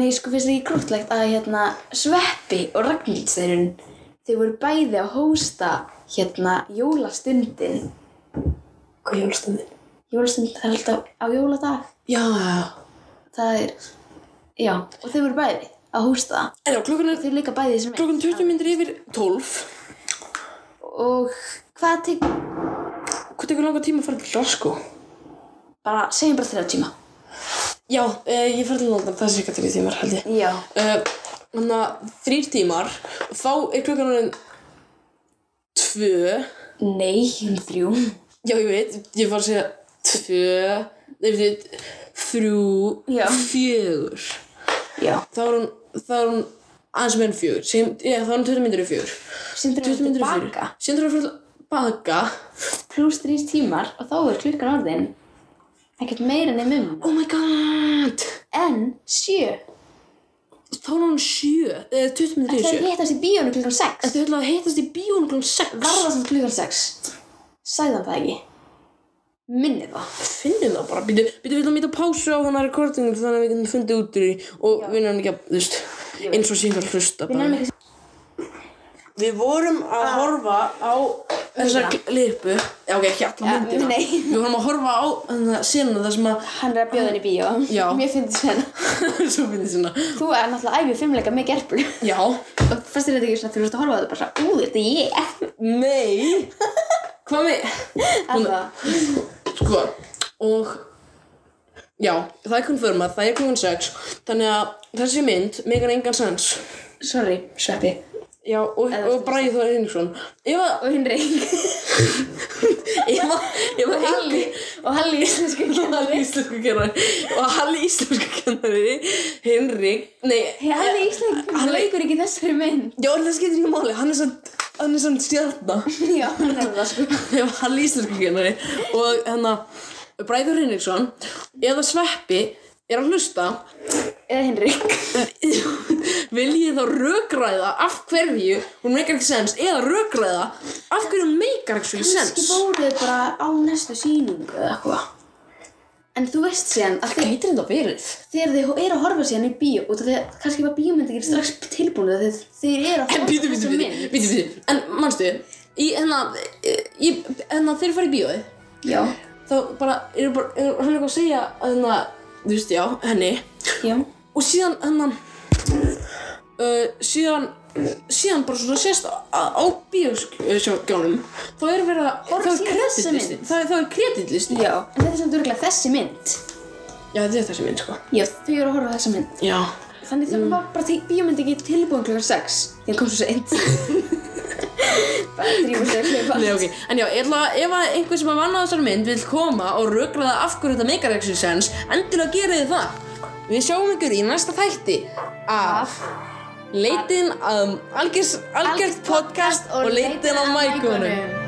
Nei, sko, finnst þið ekki grútlegt að, hérna, Sveppi og Ragnhildsdærun, þau voru bæði að hósta, hérna, jólastundin.
Hvað er jólstundin?
Jólastundin er alltaf á jóladag.
Já, já, já
Það er, já, og þau voru bæði að hósta.
En já, klukkan er
Þau eru líka bæði sem
klukkan 20 myndir yfir 12
Og hvað tek...
Hvað tekur langa tíma að fara til Glasgow?
Bara, segjum bara þrjá tíma.
Já, eh, ég fer til London, það er cirka 3 tímar held ég
Já.
Eh, Þannig að þrýr tímar Þá er klukkan orðin 2 Já,
Nei, um þrjú.
ég veit, ég var að segja 2 Nei, veit, 3
Já.
4
Já.
Þá er hún, þá er hún aðeins meira en 4 Sem, já, þá er hún 20 myndir yfir 4
Sindur
20 myndir yfir 4
baka.
Sýndur að fara til baka
Plús þrjir tímar og þá er klukkan orðin. Ekkert meira enn um.
Oh my god
En sjö.
Þá er hún sjö Eða 20 minnir í
Það
sjö
er hittast í bíónu klukkan sex.
Þau ætlaði að heitast í bíónu klón 6
Varða samt klukkan sex. Sæðan það ekki. Minni það.
Finnum það bara Býtu, býtu við ætlum að mýta pásu á hana recordingu Þannig að við getum fundið út úr því Og við nefnum ekki að, þú veist Eins og síðan hlusta
Við nefnum
bara
ekki Ah.
Við vorum að horfa á Þessa
Myndina.
klipu Já ok, ekki alla
Ja,
myndina
nei.
Við vorum að horfa á þannig að senu Það sem að
hann er að bjóða henni í bíó.
Já.
Mér finnst þess henni.
[laughs] Svo finnir svona
Þú er náttúrulega æfið fimmleika með gerplu.
Já
Og fyrst er þetta ekki svona, þú ert að horfa á þetta bara svona, ú, þetta er ég.
Nei Hvað með
Alltaf.
Sko, og já, það er konfirmað, það er klukkan 6 þannig að þessi mynd megar engan sens
Sorry, sveppi.
Já, og, og Bræði Þóra Hinnigsson Ef að,
Og Hinrik.
ef að, ef að
Halli. [laughs] Og Halli íslensku
Halli
kennari.
íslensku kennari og Halli íslensku kennari Hinrik, nei
Hey, Halli íslensku
Halli-
leikur ekki í þessari mynd.
Já, en það skiptir ekki máli, hann er samt hann er samt stjarnar
Já, hann er það sko.
ef Halli íslensku kennari og hérna Bræði Þóra Hinnigsson eða Sveppi er að hlusta
Eða Hinrik.
vil ég þá rökræða af hverju hún meikar ekki sens eða rökræða af hverju hún meikar ekki
Kannski
sens
fóruðu bara á næstu sýningu eða eitthvað. En þú veist síðan að þið,
heitir þetta verið?
þegar þið eru að horfa síðan í bíó og það kannski var bíómynd ekki strax tilbúin þegar þið, þið eru að
En
horfa
býtu, býtu, býtu,
mynd.
býtu, býtu En mannstu, í hennar hennar þeir fara í bíói
Já,
þá bara, eru bara, er hann eitthvað að segja hennar, þú veist, já, henni
já.
og síðan hennar uh, síðan síðan bara svona sést á, á bíóskjónum þá er verið að
Horfa
þá er
síðan þessa
kreditlisti,
mynd.
þá er- þá er kreditlisti
Já. En þetta er samt örgulega þessi mynd.
Já, þetta er þessi mynd, sko
Já, þau eru að horfa á þessa mynd.
Já,
Þannig þau var bara til- bíómynd ekki tilbúin klukkan 6. Þegar kom svo seint. bara drífur sig að hlaupa.
Nei, ok, en já, ég ætla að ef að einhver sem að vanna þessar mynd vil koma og rökraða af hverju þetta meikar ekki sens, endilega gerið þið það. Við sjáum ykkur í næsta þætti af leitin að algjört podcast og leitin að mækunum.